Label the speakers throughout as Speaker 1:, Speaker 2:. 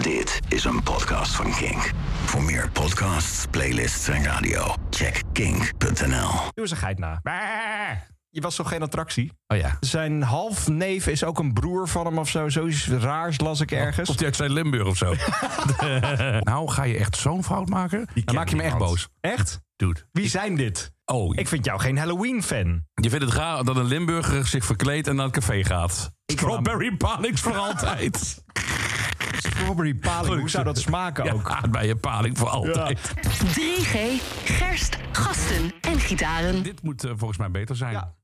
Speaker 1: Dit is een podcast van Kink. Voor meer podcasts, playlists en radio, check kink.nl.
Speaker 2: Doe eens een geit na.
Speaker 3: Je was toch geen attractie?
Speaker 2: Oh ja.
Speaker 3: Zijn halfneef is ook een broer van hem of zo. Zoiets raars las ik ergens.
Speaker 2: Komt hij uit Zuid-Limburg of zo? nou, ga je echt zo'n fout maken? Dan maak je me echt boos.
Speaker 3: Echt?
Speaker 2: Dude.
Speaker 3: Wie zijn dit?
Speaker 2: Oh,
Speaker 3: Ik vind jou geen Halloween-fan.
Speaker 2: je vindt het raar dat een Limburger zich verkleedt en naar het café gaat. Strawberry panics voor altijd.
Speaker 3: Strawberry paling, hoe zou dat smaken ook?
Speaker 2: Ja, bij je paling voor altijd.
Speaker 4: 3G, gerst, gasten en gitaren.
Speaker 2: Dit moet eh, volgens mij beter zijn.
Speaker 3: Ja.
Speaker 2: Ja.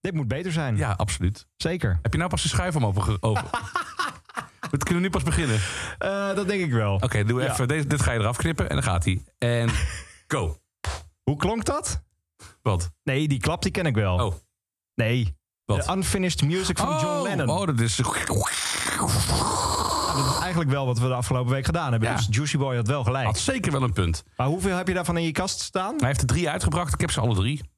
Speaker 3: Dit moet beter zijn.
Speaker 2: absoluut.
Speaker 3: Zeker.
Speaker 2: Heb je nou pas de schuif omhoog? ge- Over? We kunnen nu pas beginnen.
Speaker 3: Eh, dat denk ik wel.
Speaker 2: Oké, doe
Speaker 3: Ja.
Speaker 2: even. Deze, dit ga je eraf knippen en dan gaat hij. En go.
Speaker 3: Hoe klonk dat?
Speaker 2: Wat?
Speaker 3: Nee, die klap die ken ik wel.
Speaker 2: Oh,
Speaker 3: Nee.
Speaker 2: Wat?
Speaker 3: De Unfinished Music van John Lennon.
Speaker 2: Oh, dat is.
Speaker 3: Dat is eigenlijk wel wat we de afgelopen week gedaan hebben.
Speaker 2: Ja.
Speaker 3: Dus Juicy Boy had wel gelijk.
Speaker 2: Had zeker wel een punt.
Speaker 3: Maar hoeveel heb je daarvan in je kast staan?
Speaker 2: Hij heeft er drie uitgebracht. Ik heb ze alle drie.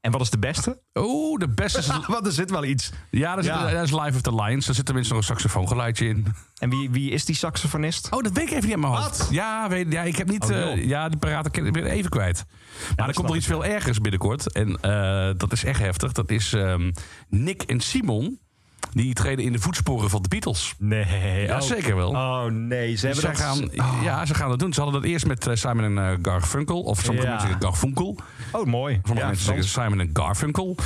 Speaker 3: En wat is de beste?
Speaker 2: Oh, de beste is.
Speaker 3: Want er zit wel iets.
Speaker 2: Ja, dat is,
Speaker 3: Ja.
Speaker 2: dat is Live of the Lions. Daar zit tenminste nog een saxofoongeluidje in.
Speaker 3: En wie, wie is die saxofonist?
Speaker 2: Oh, dat weet ik even niet aan mijn hoofd.
Speaker 3: Wat?
Speaker 2: Ja, weet, ja, ik heb niet.
Speaker 3: Oh, joh.
Speaker 2: eh, ja, die paraten ken ik ben even kwijt. Maar er komt
Speaker 3: snap
Speaker 2: nog iets veel ergers binnenkort. En eh, dat is echt heftig. Dat is ehm, Nick en Simon. Die treden in de voetsporen van de Beatles.
Speaker 3: Nee.
Speaker 2: Ja,
Speaker 3: oh.
Speaker 2: zeker wel.
Speaker 3: Oh nee, ze
Speaker 2: Dus
Speaker 3: hebben
Speaker 2: zij
Speaker 3: dat... Ah.
Speaker 2: gaan, Ja, ze gaan dat doen. Ze hadden dat eerst met eh, Simon en eh, Garfunkel. Of sommige
Speaker 3: Ja.
Speaker 2: mensen zeggen Garfunkel.
Speaker 3: Oh, mooi.
Speaker 2: Sommige
Speaker 3: Ja,
Speaker 2: mensen zeggen Simon en Garfunkel.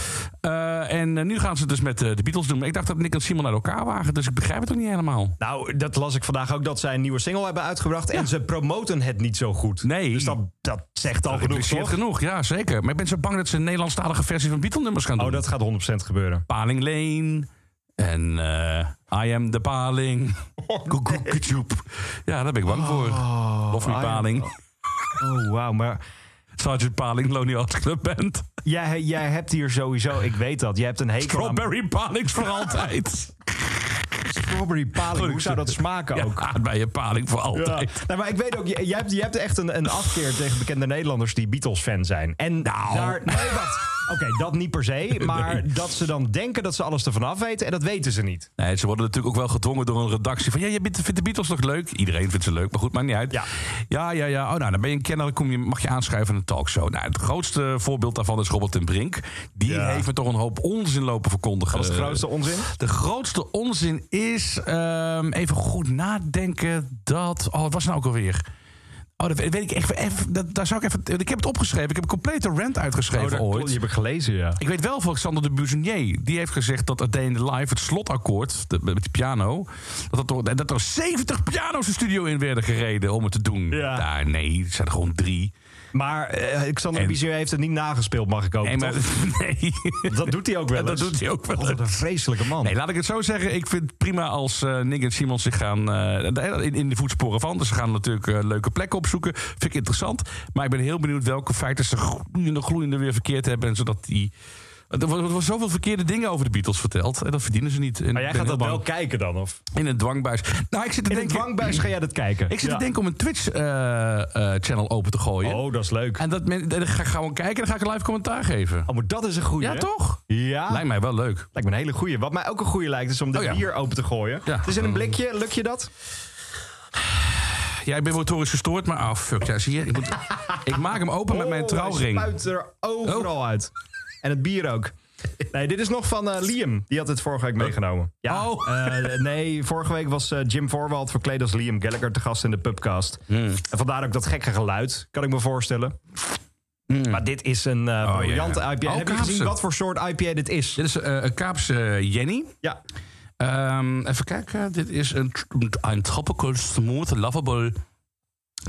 Speaker 2: Eh, en eh, nu gaan ze het dus met eh, de Beatles doen. Maar ik dacht dat Nick en Simon uit elkaar waren. Dus ik begrijp het ook niet helemaal.
Speaker 3: Nou, dat las ik vandaag ook, dat zij een nieuwe single hebben uitgebracht. En ze promoten het niet zo goed.
Speaker 2: Nee.
Speaker 3: Dus dat, dat zegt al genoeg,
Speaker 2: Impliceert
Speaker 3: toch?
Speaker 2: genoeg, ja zeker. Maar ik ben zo bang dat ze een Nederlandstalige versie van Beatle-nummers gaan doen.
Speaker 3: Oh, dat gaat 100% gebeuren.
Speaker 2: Paling Lane. En eh, I am the Paling.
Speaker 3: Oh,
Speaker 2: Koekoeketjoep. Ja, daar ben ik bang voor. of
Speaker 3: I
Speaker 2: niet
Speaker 3: am-
Speaker 2: Paling.
Speaker 3: Oh, wauw. Maar
Speaker 2: Sergeant Paling, Lonely Hearts Club Band.
Speaker 3: jij, jij hebt hier sowieso, ik weet dat, jij hebt een hekel aan
Speaker 2: Strawberry Palings voor altijd.
Speaker 3: strawberry paling. Hoe zou dat smaken ook?
Speaker 2: Ja, bij je Paling voor
Speaker 3: Ja.
Speaker 2: altijd.
Speaker 3: Nou, maar ik weet ook, jij jij hebt, jij hebt echt een, een afkeer tegen bekende Nederlanders die Beatles-fan zijn. En
Speaker 2: Nou.
Speaker 3: daar. Nee, wat? Oké, dat niet per se. Maar dat ze dan denken dat ze alles ervan af weten. En dat weten ze niet.
Speaker 2: Nee, ze worden natuurlijk ook wel gedwongen door een redactie. Van ja, je vindt vindt de Beatles nog leuk? Iedereen vindt ze leuk, maar goed, maakt niet uit.
Speaker 3: Ja.
Speaker 2: ja, ja. ja. Oh, nou, dan ben je een kenner, dan kom je, mag je aanschuiven in een talkshow. Nou, het grootste voorbeeld daarvan is Robert ten Brink. Die
Speaker 3: Ja.
Speaker 2: heeft me toch een hoop onzin lopen verkondigen. Eh,
Speaker 3: Dat is de grootste onzin.
Speaker 2: De grootste onzin is, ehm, even goed nadenken, dat... Oh, wat was het nou ook alweer? Oh, dat weet weet ik echt. even- dat, daar zou ik even. Ik heb het opgeschreven. Ik heb een complete rant
Speaker 3: Oh,
Speaker 2: uitgeschreven ooit.
Speaker 3: heb ik gelezen, ja.
Speaker 2: Ik weet wel van Sander de Buzonier. Die heeft gezegd dat Day in the Live, het slotakkoord de- met de piano. Dat, dat, door- dat er 70 piano's de studio in werden gereden om het te doen.
Speaker 3: Ja.
Speaker 2: Nou, nee, het zijn er gewoon drie.
Speaker 3: Maar eh Xander
Speaker 2: En-
Speaker 3: Bizier heeft het niet nagespeeld, mag ik ook.
Speaker 2: Nee, maar,
Speaker 3: toch?
Speaker 2: nee.
Speaker 3: Dat doet hij ook wel.
Speaker 2: dat
Speaker 3: eens.
Speaker 2: doet hij ook wel.
Speaker 3: Oh, wat een vreselijke man.
Speaker 2: Nee, laat ik het zo zeggen. Ik vind het prima als eh, Nick en Simon zich gaan eh, in, in de voetsporen van. Dus ze gaan natuurlijk eh, leuke plekken opzoeken. Vind ik interessant. Maar ik ben heel benieuwd welke feiten ze gloeiende, gloeiende weer verkeerd hebben. En zodat die. Er wordt er wordt zoveel verkeerde dingen over de Beatles verteld. En dat verdienen ze niet. En
Speaker 3: maar
Speaker 2: ik
Speaker 3: jij
Speaker 2: ben
Speaker 3: gaat
Speaker 2: heel
Speaker 3: dat wel
Speaker 2: bang.
Speaker 3: kijken dan? Of?
Speaker 2: In een dwangbuis. Nou, ik zit te
Speaker 3: In een
Speaker 2: denken.
Speaker 3: dwangbuis ga jij dat kijken.
Speaker 2: Ik zit
Speaker 3: Ja.
Speaker 2: te denken om een Twitch-channel open te gooien.
Speaker 3: Oh, dat is leuk.
Speaker 2: En dat men, dan ga ik gewoon kijken en dan ga ik een live commentaar geven.
Speaker 3: Oh, maar dat is een goede.
Speaker 2: ja, toch?
Speaker 3: Ja.
Speaker 2: Lijkt mij wel leuk.
Speaker 3: Lijkt me een hele goeie. Wat mij ook een goeie lijkt, is om de
Speaker 2: Oh ja.
Speaker 3: bier open te gooien.
Speaker 2: Ja.
Speaker 3: Het is in een blikje, lukt je dat?
Speaker 2: Ja, ik ben motorisch gestoord, maar oh fuck, ja, zie je. Ik, moet, ik maak hem open met mijn
Speaker 3: Oh,
Speaker 2: trouwring. Oh.
Speaker 3: Hij spuit er overal uit. En het bier ook. Nee, dit is nog van eh, Liam. Die had dit vorige week meegenomen. Ja,
Speaker 2: Oh.
Speaker 3: eh, nee, vorige week was eh, Jim Voorwald verkleed als Liam Gallagher te gast in de pubcast.
Speaker 2: Hmm.
Speaker 3: En vandaar ook dat gekke geluid, kan ik me voorstellen. Maar dit is een eh
Speaker 2: ja.
Speaker 3: briljante IPA.
Speaker 2: Hmm. Oh,
Speaker 3: Heb je
Speaker 2: Kaapse.
Speaker 3: gezien wat voor soort IPA dit is?
Speaker 2: Dit is eh, een Kaapse Jenny.
Speaker 3: Ja.
Speaker 2: Ehm, even kijken, dit is een, een tropical smooth lovable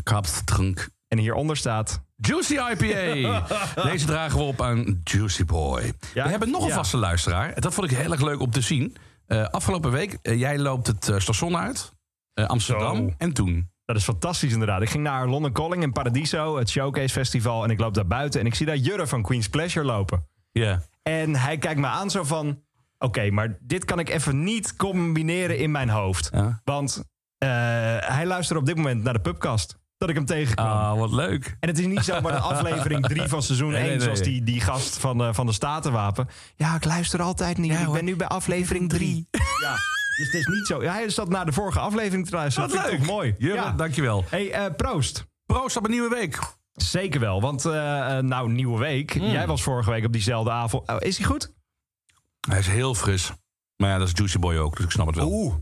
Speaker 2: Kaapse drink.
Speaker 3: En hieronder staat...
Speaker 2: Juicy IPA. Deze dragen we op aan Juicy Boy. we hebben nog een
Speaker 3: ja.
Speaker 2: vaste luisteraar. Dat vond ik heel erg leuk om te zien. Eh, afgelopen week, eh, jij loopt het eh, station uit. eh, Amsterdam.
Speaker 3: Zo.
Speaker 2: En toen.
Speaker 3: Dat is fantastisch inderdaad. Ik ging naar London Calling in Paradiso, het Showcase Festival. En ik loop daar buiten en ik zie daar Jurre van Queen's Pleasure lopen.
Speaker 2: Ja.
Speaker 3: En hij kijkt me aan zo van... Oké, maar dit kan ik even niet combineren in mijn hoofd.
Speaker 2: Ja.
Speaker 3: Want eh, hij luistert op dit moment naar de pubcast. Dat ik hem tegenkwam.
Speaker 2: Ah, wat leuk.
Speaker 3: En het is niet zomaar de aflevering 3 van seizoen 1...
Speaker 2: Nee, nee, nee.
Speaker 3: zoals die, die gast van, eh, van de Statenwapen. Ja, ik luister altijd niet. ik ben nu bij aflevering 3. Ja. Dus het is niet zo. Hij is dat na de vorige aflevering te luisteren.
Speaker 2: Wat
Speaker 3: Dat vind
Speaker 2: leuk.
Speaker 3: ik toch mooi.
Speaker 2: Jurre, dankjewel.
Speaker 3: Hey, eh, proost.
Speaker 2: Proost op een nieuwe week.
Speaker 3: Zeker wel, want eh, eh, nou, nieuwe week. Jij was vorige week op diezelfde avond. Oh, is hij goed?
Speaker 2: Hij is heel fris. Maar ja, dat is Juicy Boy ook, dus ik snap het wel.
Speaker 3: Oeh.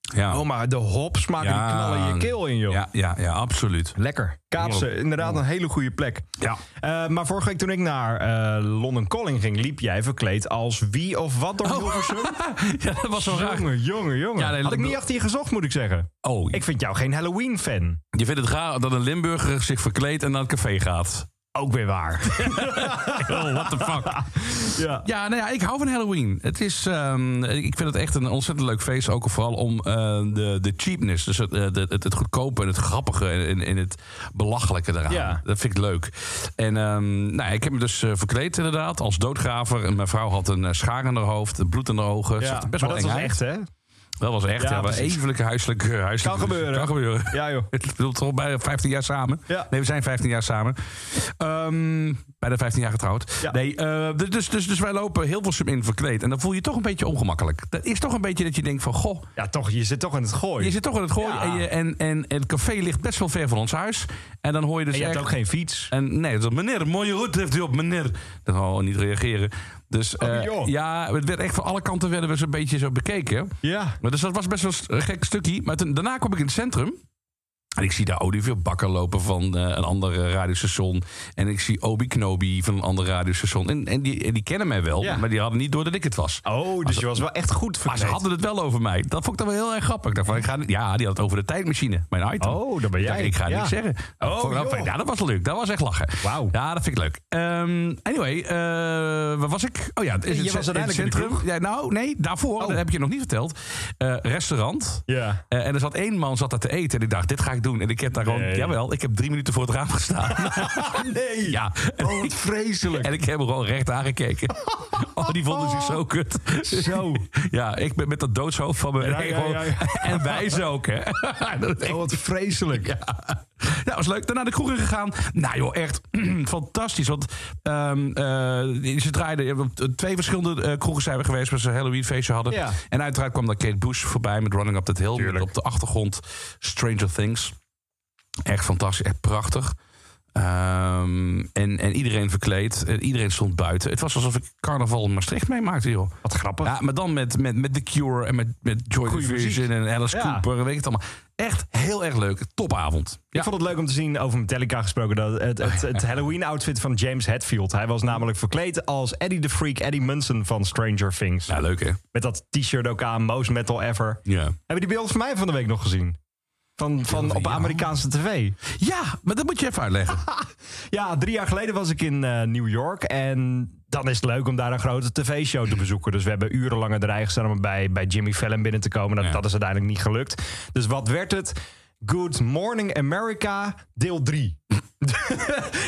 Speaker 2: ja.
Speaker 3: Oh, maar de hops maken
Speaker 2: Ja.
Speaker 3: die knallen je keel in, joh.
Speaker 2: ja, ja, ja, absoluut.
Speaker 3: Lekker. Kaapse, inderdaad een hele goede plek.
Speaker 2: Ja.
Speaker 3: Eh, maar vorige week toen ik naar eh, London Calling ging, liep jij verkleed als wie of wat door Hilversum.
Speaker 2: ja, dat was zo raar.
Speaker 3: Jongen, jongen, jongen.
Speaker 2: Ja, nee,
Speaker 3: Had ik
Speaker 2: dat-
Speaker 3: niet achter je gezocht, moet ik zeggen.
Speaker 2: Oh,
Speaker 3: Ik vind jou geen Halloween-fan.
Speaker 2: je vindt het raar dat een Limburger zich verkleedt en naar het café gaat.
Speaker 3: Ook weer waar.
Speaker 2: Oh, what the fuck.
Speaker 3: ja.
Speaker 2: Ja, nou ja, ik hou van Halloween. Het is, ehm, ik vind het echt een ontzettend leuk feest. Ook vooral om eh, de, de cheapness. Dus het, eh, de- het, het goedkope en het grappige en, en het belachelijke eraan.
Speaker 3: Ja.
Speaker 2: Dat vind ik leuk. En ehm, nou, ik heb me dus eh, verkleed inderdaad als doodgraver. En mijn vrouw had een eh, schaar in haar hoofd, bloed in haar ogen. Ze
Speaker 3: Ja,
Speaker 2: had best
Speaker 3: maar
Speaker 2: wel
Speaker 3: dat
Speaker 2: eng
Speaker 3: was
Speaker 2: uit.
Speaker 3: echt, hè?
Speaker 2: Dat was echt,
Speaker 3: Ja,
Speaker 2: ja. maar
Speaker 3: precies.
Speaker 2: Evenlijke huiselijke... huiselijke
Speaker 3: Kan gebeuren.
Speaker 2: eh, Kan gebeuren.
Speaker 3: Ja, joh.
Speaker 2: Ik bedoel, toch bij 15 jaar samen.
Speaker 3: Ja.
Speaker 2: Nee, we zijn 15 jaar samen. Ehm bijna 15 jaar getrouwd.
Speaker 3: Ja.
Speaker 2: Nee, eh, dus- dus, dus, dus wij lopen heel veel sub in verkleed. En dan voel je je toch een beetje ongemakkelijk. Dat is toch een beetje dat je denkt van... Goh,
Speaker 3: Ja, toch, je zit toch in het gooien.
Speaker 2: je zit toch in het gooien.
Speaker 3: Ja.
Speaker 2: En, je, en, en, en het café ligt best wel ver van ons huis. En dan hoor je dus
Speaker 3: en je hebt
Speaker 2: echt-
Speaker 3: ook geen fiets.
Speaker 2: en nee, dat meneer, mooie route heeft u op, meneer. Dan gaan we niet reageren. Dus eh,
Speaker 3: Oh, joh.
Speaker 2: ja, het werd echt van alle kanten werden we zo'n beetje zo bekeken.
Speaker 3: Ja.
Speaker 2: Maar dus dat was best wel een gek stukje. Maar toen- daarna kwam ik in het centrum. En ik zie daar Olivierbakker lopen van eh, een ander eh, radiostation. En ik zie Obi Knobi van een ander radiostation. En, en, die, en die kennen mij wel,
Speaker 3: Ja.
Speaker 2: maar die hadden niet door dat ik het was.
Speaker 3: Oh, dus je was wel echt goed
Speaker 2: Maar
Speaker 3: verkleed.
Speaker 2: ze hadden het wel over mij. Dat vond ik dan wel heel erg grappig. Ik dacht van, ik ga, niet- ja, die had het over de tijdmachine, mijn item.
Speaker 3: Oh, dat ben
Speaker 2: Ik dacht,
Speaker 3: jij.
Speaker 2: Ik ga
Speaker 3: Ja.
Speaker 2: niks zeggen.
Speaker 3: Oh,
Speaker 2: Vond ik wel
Speaker 3: joh.
Speaker 2: fijn. ja, dat was leuk. Dat was echt lachen.
Speaker 3: Wauw.
Speaker 2: Ja, dat vind ik leuk. Ehm, anyway, eh, waar was ik? Oh ja, het is
Speaker 3: Je
Speaker 2: het,
Speaker 3: was
Speaker 2: in het
Speaker 3: uiteindelijk in de Oh.
Speaker 2: centrum. ja, nou, nee, daarvoor, dat heb ik je nog niet verteld. Eh, restaurant.
Speaker 3: Ja.
Speaker 2: Eh, en er zat één man zat daar te eten en ik dacht, dit ga ik doen. En ik heb daar gewoon,
Speaker 3: Nee.
Speaker 2: jawel, ik heb drie minuten voor het raam gestaan.
Speaker 3: Nee.
Speaker 2: ja.
Speaker 3: Oh, wat vreselijk.
Speaker 2: En ik heb hem gewoon recht aangekeken. Oh, die vonden zich zo kut.
Speaker 3: Zo.
Speaker 2: Ja, ik ben met dat doodshoofd van me.
Speaker 3: Ja,
Speaker 2: en
Speaker 3: ja,
Speaker 2: gewoon-
Speaker 3: ja, ja.
Speaker 2: En wij ze ook, hè. Dat is echt-
Speaker 3: Oh, wat vreselijk.
Speaker 2: ja, dat was leuk. Daarna de kroeg in gegaan. Nou joh, echt fantastisch. Want ehm, eh, ze draaiden... op Twee verschillende eh, kroegen zijn we geweest... waar ze een Halloween feestje hadden.
Speaker 3: Ja.
Speaker 2: En uiteraard kwam daar Kate Bush voorbij... met Running Up That Hill. Met
Speaker 3: Tuurlijk.
Speaker 2: op de achtergrond Stranger Things. Echt fantastisch, echt prachtig. Ehm, en, en iedereen verkleed. En iedereen stond buiten. Het was alsof ik carnaval in Maastricht meemaakte, joh.
Speaker 3: Wat grappig.
Speaker 2: Ja, maar dan met, met, met The Cure en met, met Joy
Speaker 3: Goeie
Speaker 2: Division en Alice
Speaker 3: Ja.
Speaker 2: Cooper en weet ik het allemaal. Echt heel erg leuk. Topavond.
Speaker 3: Ik vond het leuk om te zien, over Metallica gesproken, dat het, het, het Halloween-outfit van James Hetfield. Hij was namelijk verkleed als Eddie the Freak, Eddie Munson van Stranger Things.
Speaker 2: Ja, Nou, leuk hè?
Speaker 3: Met dat t-shirt ook aan, most metal ever.
Speaker 2: Ja.
Speaker 3: Hebben die beelden van mij van de week nog gezien? Van, van op
Speaker 2: ja.
Speaker 3: Amerikaanse tv.
Speaker 2: Ja, maar dat moet je even uitleggen.
Speaker 3: Ja, drie jaar geleden was ik in eh, New York. En dan is het leuk om daar een grote tv-show te bezoeken. Dus we hebben urenlang in de rij gestaan om bij, bij Jimmy Fallon binnen te komen. Dat,
Speaker 2: Ja.
Speaker 3: dat is uiteindelijk niet gelukt. Dus wat werd het? Good Morning America, deel 3.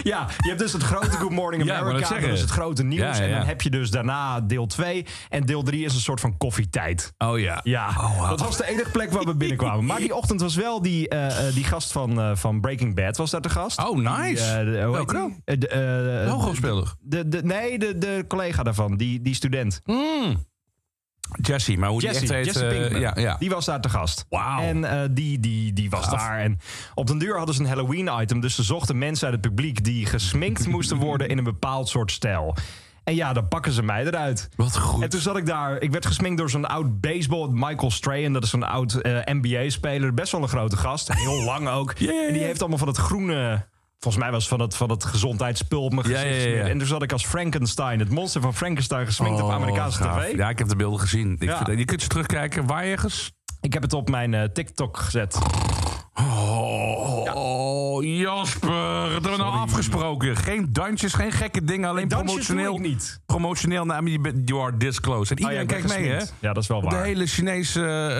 Speaker 3: ja, je hebt dus het grote Good Morning
Speaker 2: Ja, ik wou net
Speaker 3: America. dat
Speaker 2: zeggen.
Speaker 3: is het grote nieuws.
Speaker 2: Ja, ja,
Speaker 3: En
Speaker 2: ja.
Speaker 3: dan heb je dus daarna deel 2. En deel 3 is een soort van koffietijd.
Speaker 2: Oh ja.
Speaker 3: Ja, dat was de enige plek waar we binnenkwamen. Maar die ochtend was wel die, eh, eh, die gast van, eh, van Breaking Bad was daar de gast.
Speaker 2: Oh, nice.
Speaker 3: Die, eh, de- hoe heet
Speaker 2: Welke?
Speaker 3: die? Eh, de, eh,
Speaker 2: Hooghoofdspeler.
Speaker 3: de, de, nee, de, de collega daarvan, die, die student.
Speaker 2: Jesse, maar hoe
Speaker 3: Jesse,
Speaker 2: Hm? die echt heet.
Speaker 3: Jesse
Speaker 2: eh,
Speaker 3: Pinkman.
Speaker 2: ja, ja.
Speaker 3: Die was daar te gast.
Speaker 2: Wauw.
Speaker 3: En eh, die, die, die was
Speaker 2: Gaaf.
Speaker 3: daar. En op den duur hadden ze een Halloween-item. Dus ze zochten mensen uit het publiek die gesminkt moesten worden in een bepaald soort stijl. En ja, dan pakken ze mij eruit.
Speaker 2: Wat goed.
Speaker 3: En toen zat ik daar. Ik werd gesminkt door zo'n oud baseball Michael Strahan. Dat is zo'n oud eh, NBA-speler. Best wel een grote gast. Heel lang ook.
Speaker 2: Ja, ja, ja.
Speaker 3: En die heeft allemaal van het groene. Volgens mij was het van het, van het gezondheidsspul op mijn
Speaker 2: Ja,
Speaker 3: gezicht.
Speaker 2: ja, ja, ja.
Speaker 3: gesmeerd. En toen zat ik als Frankenstein, het monster van Frankenstein, gesminkt op
Speaker 2: Oh,
Speaker 3: Amerikaanse
Speaker 2: gaaf.
Speaker 3: tv.
Speaker 2: Ja, ik heb de beelden gezien. Ik
Speaker 3: Ja.
Speaker 2: vind- je kunt ze terugkijken. Waar ergens?
Speaker 3: Ik heb het op mijn eh, TikTok gezet.
Speaker 2: Oh, oh, Jasper. Dat hebben we nou afgesproken. Geen dansjes, geen gekke dingen. Alleen
Speaker 3: Dansjes doe
Speaker 2: promotioneel.
Speaker 3: ik niet.
Speaker 2: Promotioneel. Nou, maar je bent- you are disclosed. En
Speaker 3: Oh ja, ik
Speaker 2: iedereen
Speaker 3: ben
Speaker 2: kijkt mee, hè?
Speaker 3: gesminkt. Ja, dat is wel
Speaker 2: De
Speaker 3: waar.
Speaker 2: hele Chinese, eh, eh,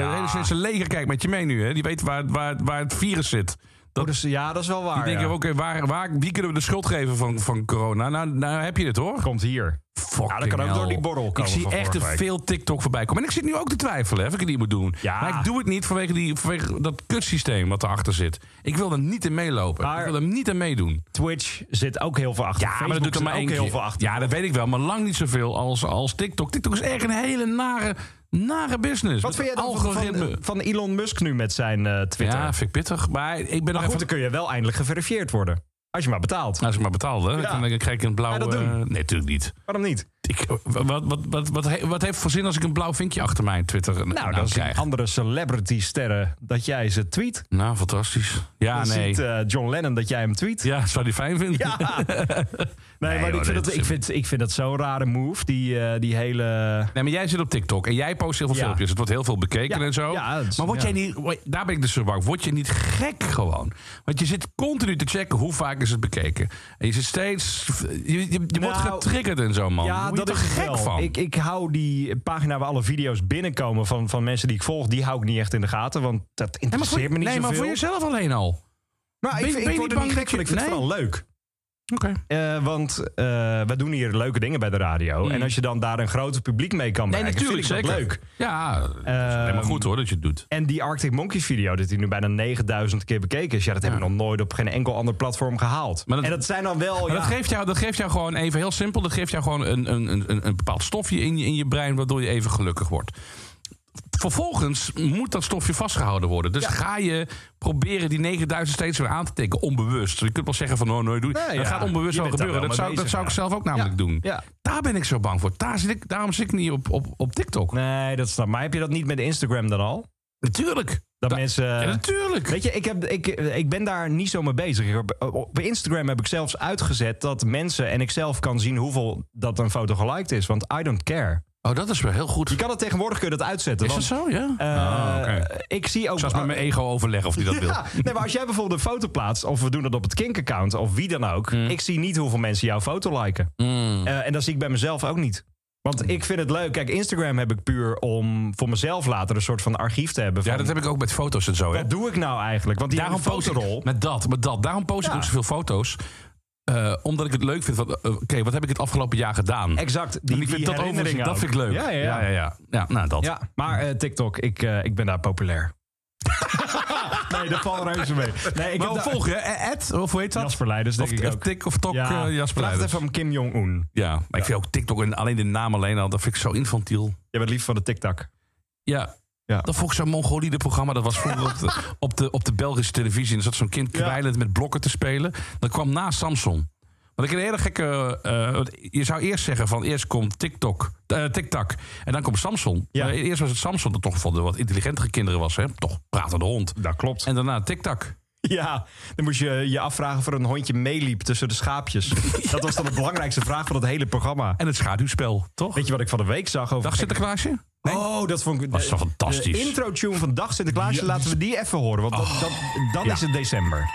Speaker 3: Ja.
Speaker 2: de hele Chinese leger kijkt met je mee nu, hè? Die weet waar, waar, waar het virus zit. Dat,
Speaker 3: Oh, dus, ja, dat is wel waar.
Speaker 2: Ik denk,
Speaker 3: ja.
Speaker 2: oké, waar, waar, wie kunnen we de schuld geven van, van corona? Nou, nou heb je het hoor.
Speaker 3: Komt hier.
Speaker 2: Fucking
Speaker 3: Ja, dat kan ook
Speaker 2: hell.
Speaker 3: door die borrel
Speaker 2: Ik
Speaker 3: komen
Speaker 2: zie
Speaker 3: van
Speaker 2: echt te
Speaker 3: vorige week.
Speaker 2: veel TikTok voorbij komen. En ik zit nu ook te twijfelen hè, of ik het niet moet doen.
Speaker 3: Ja.
Speaker 2: Maar ik doe het niet vanwege, die, vanwege dat kutsysteem wat erachter zit. Ik wil er niet in meelopen.
Speaker 3: Maar-
Speaker 2: Ik wil er niet in meedoen.
Speaker 3: Twitch zit ook heel veel achter.
Speaker 2: Ja, maar dat doet er maar
Speaker 3: ook
Speaker 2: één
Speaker 3: heel
Speaker 2: keer.
Speaker 3: veel achter.
Speaker 2: Ja, dat weet ik wel. Maar lang niet zoveel als, als TikTok. TikTok is echt een hele nare, Nare business.
Speaker 3: Wat vind jij dan van-
Speaker 2: algoritme?
Speaker 3: van, van Elon Musk nu met zijn eh, Twitter?
Speaker 2: ja, vind ik pittig. Maar ik ben
Speaker 3: maar
Speaker 2: nog
Speaker 3: goed,
Speaker 2: even...
Speaker 3: dan kun je wel eindelijk geverifieerd worden. Als je maar betaalt.
Speaker 2: Als ik maar betaalde,
Speaker 3: Ja.
Speaker 2: dan krijg ik een blauw...
Speaker 3: Ga je dat
Speaker 2: eh,
Speaker 3: doen?
Speaker 2: nee, natuurlijk niet.
Speaker 3: Waarom niet?
Speaker 2: Ik, wat, wat, wat, wat, he- wat heeft voor zin als ik een blauw vinkje achter mijn Twitter nou,
Speaker 3: Nou, dat is
Speaker 2: krijg?
Speaker 3: andere celebrity-sterren dat jij ze tweet.
Speaker 2: Nou, fantastisch. Ja,
Speaker 3: Dan
Speaker 2: nee.
Speaker 3: ziet eh, John Lennon dat jij hem tweet.
Speaker 2: ja, zou die fijn vinden?
Speaker 3: Ja. nee, maar
Speaker 2: joh,
Speaker 3: ik, vind
Speaker 2: dit
Speaker 3: dat,
Speaker 2: is-
Speaker 3: ik, vind, ik vind dat zo'n rare move. Die, eh, die hele...
Speaker 2: Nee, maar jij zit op TikTok en jij post heel veel
Speaker 3: Ja.
Speaker 2: filmpjes. Het wordt heel veel bekeken
Speaker 3: Ja.
Speaker 2: en zo.
Speaker 3: Ja, het is-
Speaker 2: maar word
Speaker 3: ja.
Speaker 2: jij niet, daar ben ik dus zo bang. voor. Word je niet gek gewoon? Want je zit continu te checken hoe vaak is het bekeken. En je zit steeds. Je, je, je wordt
Speaker 3: Nou,
Speaker 2: getriggerd en zo, man.
Speaker 3: Ja,
Speaker 2: Daar word Oh, je
Speaker 3: dat
Speaker 2: toch
Speaker 3: is
Speaker 2: gek
Speaker 3: gek wel.
Speaker 2: van.
Speaker 3: Ik, ik hou die pagina waar alle video's binnenkomen van, van mensen die ik volg... die hou ik niet echt in de gaten, want dat
Speaker 2: Nee, maar
Speaker 3: interesseert
Speaker 2: voor,
Speaker 3: me niet
Speaker 2: nee, maar
Speaker 3: zoveel.
Speaker 2: voor jezelf alleen al. Oké.
Speaker 3: Maar
Speaker 2: Ben-
Speaker 3: ik,
Speaker 2: ben
Speaker 3: ik word
Speaker 2: je niet
Speaker 3: er niet
Speaker 2: bang
Speaker 3: gek
Speaker 2: dat je-
Speaker 3: van, ik vind het
Speaker 2: Nee.
Speaker 3: wel leuk. Eh, want eh, we doen hier leuke dingen bij de radio. En als je dan daar een groter publiek mee kan
Speaker 2: Mm. Nee,
Speaker 3: bereiken,
Speaker 2: natuurlijk.
Speaker 3: vind ik
Speaker 2: Zeker.
Speaker 3: dat leuk. Ehm,
Speaker 2: Ja, dat is helemaal goed hoor dat je het doet.
Speaker 3: En die Arctic Monkeys video, dat die nu bijna 9000 keer bekeken is... ja, dat heb ik nog nooit op geen enkel ander platform gehaald.
Speaker 2: Maar dat-
Speaker 3: en dat zijn dan wel...
Speaker 2: Maar
Speaker 3: ja,
Speaker 2: dat, geeft jou, dat geeft jou gewoon even heel simpel. Dat geeft jou gewoon een, een, een, een bepaald stofje in je, in je brein. waardoor je even gelukkig wordt. Vervolgens moet dat stofje vastgehouden worden. Dus ga je proberen die 9000 steeds weer aan te tikken. Onbewust. Je kunt wel zeggen van oh, nee, doe.
Speaker 3: Nee,
Speaker 2: dat
Speaker 3: ja.
Speaker 2: gaat onbewust
Speaker 3: Je
Speaker 2: wel
Speaker 3: bent daar
Speaker 2: gebeuren.
Speaker 3: wel
Speaker 2: dat
Speaker 3: mee
Speaker 2: zou, dat
Speaker 3: bezig,
Speaker 2: zou ik
Speaker 3: ja.
Speaker 2: zelf ook namelijk
Speaker 3: Ja.
Speaker 2: doen.
Speaker 3: Ja.
Speaker 2: Daar ben ik zo bang voor. Daar zit ik, daarom zit ik niet op, op, op TikTok.
Speaker 3: Nee, dat snap Maar heb je dat niet met Instagram dan al?
Speaker 2: Natuurlijk.
Speaker 3: Dat
Speaker 2: Da-
Speaker 3: mensen...
Speaker 2: Ja, natuurlijk.
Speaker 3: Weet je, ik, heb, ik, ik ben daar niet zo mee bezig. Ik heb- Op Instagram heb ik zelfs uitgezet dat mensen en ik zelf kan zien hoeveel dat een foto geliked is. Want I don't care.
Speaker 2: Oh, dat is wel heel goed.
Speaker 3: Je kan dat tegenwoordig kun je dat uitzetten.
Speaker 2: Is dat
Speaker 3: want,
Speaker 2: zo? Ja.
Speaker 3: eh,
Speaker 2: oh, oké.
Speaker 3: Ik zie ook.
Speaker 2: Ik zal eens met mijn ego overleggen of die dat wil.
Speaker 3: Ja, nee, maar als jij bijvoorbeeld een foto plaatst, of we doen dat op het Kink-account, of wie dan ook,
Speaker 2: Mm.
Speaker 3: ik zie niet hoeveel mensen jouw foto liken. Eh, en dat zie ik bij mezelf ook niet. Want ik vind het leuk. Kijk, Instagram heb ik puur om voor mezelf later een soort van archief te hebben. Van,
Speaker 2: Ja, dat heb ik ook met foto's en zo. Hè?
Speaker 3: Wat doe ik nou eigenlijk? Want die
Speaker 2: Daarom
Speaker 3: hele
Speaker 2: post
Speaker 3: fotorol.
Speaker 2: ik, met dat, met dat. Daarom post ik
Speaker 3: Ja.
Speaker 2: ook zoveel foto's. eh, omdat ik het leuk vind. van, eh, Oké, wat heb ik het afgelopen jaar gedaan?
Speaker 3: Exact.
Speaker 2: en ik vind dat overzicht, dat vind ik leuk.
Speaker 3: Ja, ja, ja.
Speaker 2: ja. ja, Ja, nou, dat.
Speaker 3: Ja, maar eh, TikTok, ik, eh, ik ben daar populair. nee, dat valt reuze mee. Nee, ik heb
Speaker 2: maar hoe
Speaker 3: daar-
Speaker 2: volg je? Eh, Ed, of hoe heet dat?
Speaker 3: Jasper Leiders, denk
Speaker 2: of,
Speaker 3: ik
Speaker 2: of
Speaker 3: ook.
Speaker 2: Tik of Tok
Speaker 3: ja,
Speaker 2: eh, Jasper
Speaker 3: Praat
Speaker 2: Leiders.
Speaker 3: even van Kim Jong-un.
Speaker 2: Ja, maar ik vind ook TikTok en alleen de naam alleen al, dat vind ik zo infantiel.
Speaker 3: Je bent lief van de TikTok.
Speaker 2: Ja.
Speaker 3: Ja.
Speaker 2: Dat vond ik zo'n Mongoliede programma. Dat was vroeger op de, op de, op de Belgische televisie. En er zat zo'n kind
Speaker 3: Ja.
Speaker 2: kwijlend met blokken te spelen. Dat kwam na Samsung. Want ik een hele gekke. eh, want je zou eerst zeggen van eerst komt TikTok, eh TikTok en dan komt Samsung.
Speaker 3: Ja.
Speaker 2: Maar eerst was het Samsung dat toch van de wat intelligentere kinderen was, hè? Toch pratende hond.
Speaker 3: Dat klopt.
Speaker 2: En daarna TikTok.
Speaker 3: Ja, dan moest je je afvragen of er een hondje meeliep tussen de schaapjes. Dat was dan de belangrijkste vraag van dat hele programma.
Speaker 2: En het schaduwspel, toch?
Speaker 3: Weet je wat ik van de week zag over...
Speaker 2: Dag Sinterklaasje?
Speaker 3: Oh, dat vond ik...
Speaker 2: Was toch fantastisch? Oh.
Speaker 3: De intro-tune van Dag Sinterklaasje, laten we die even horen. Want dat, dat, dan
Speaker 2: Ja.
Speaker 3: is het december.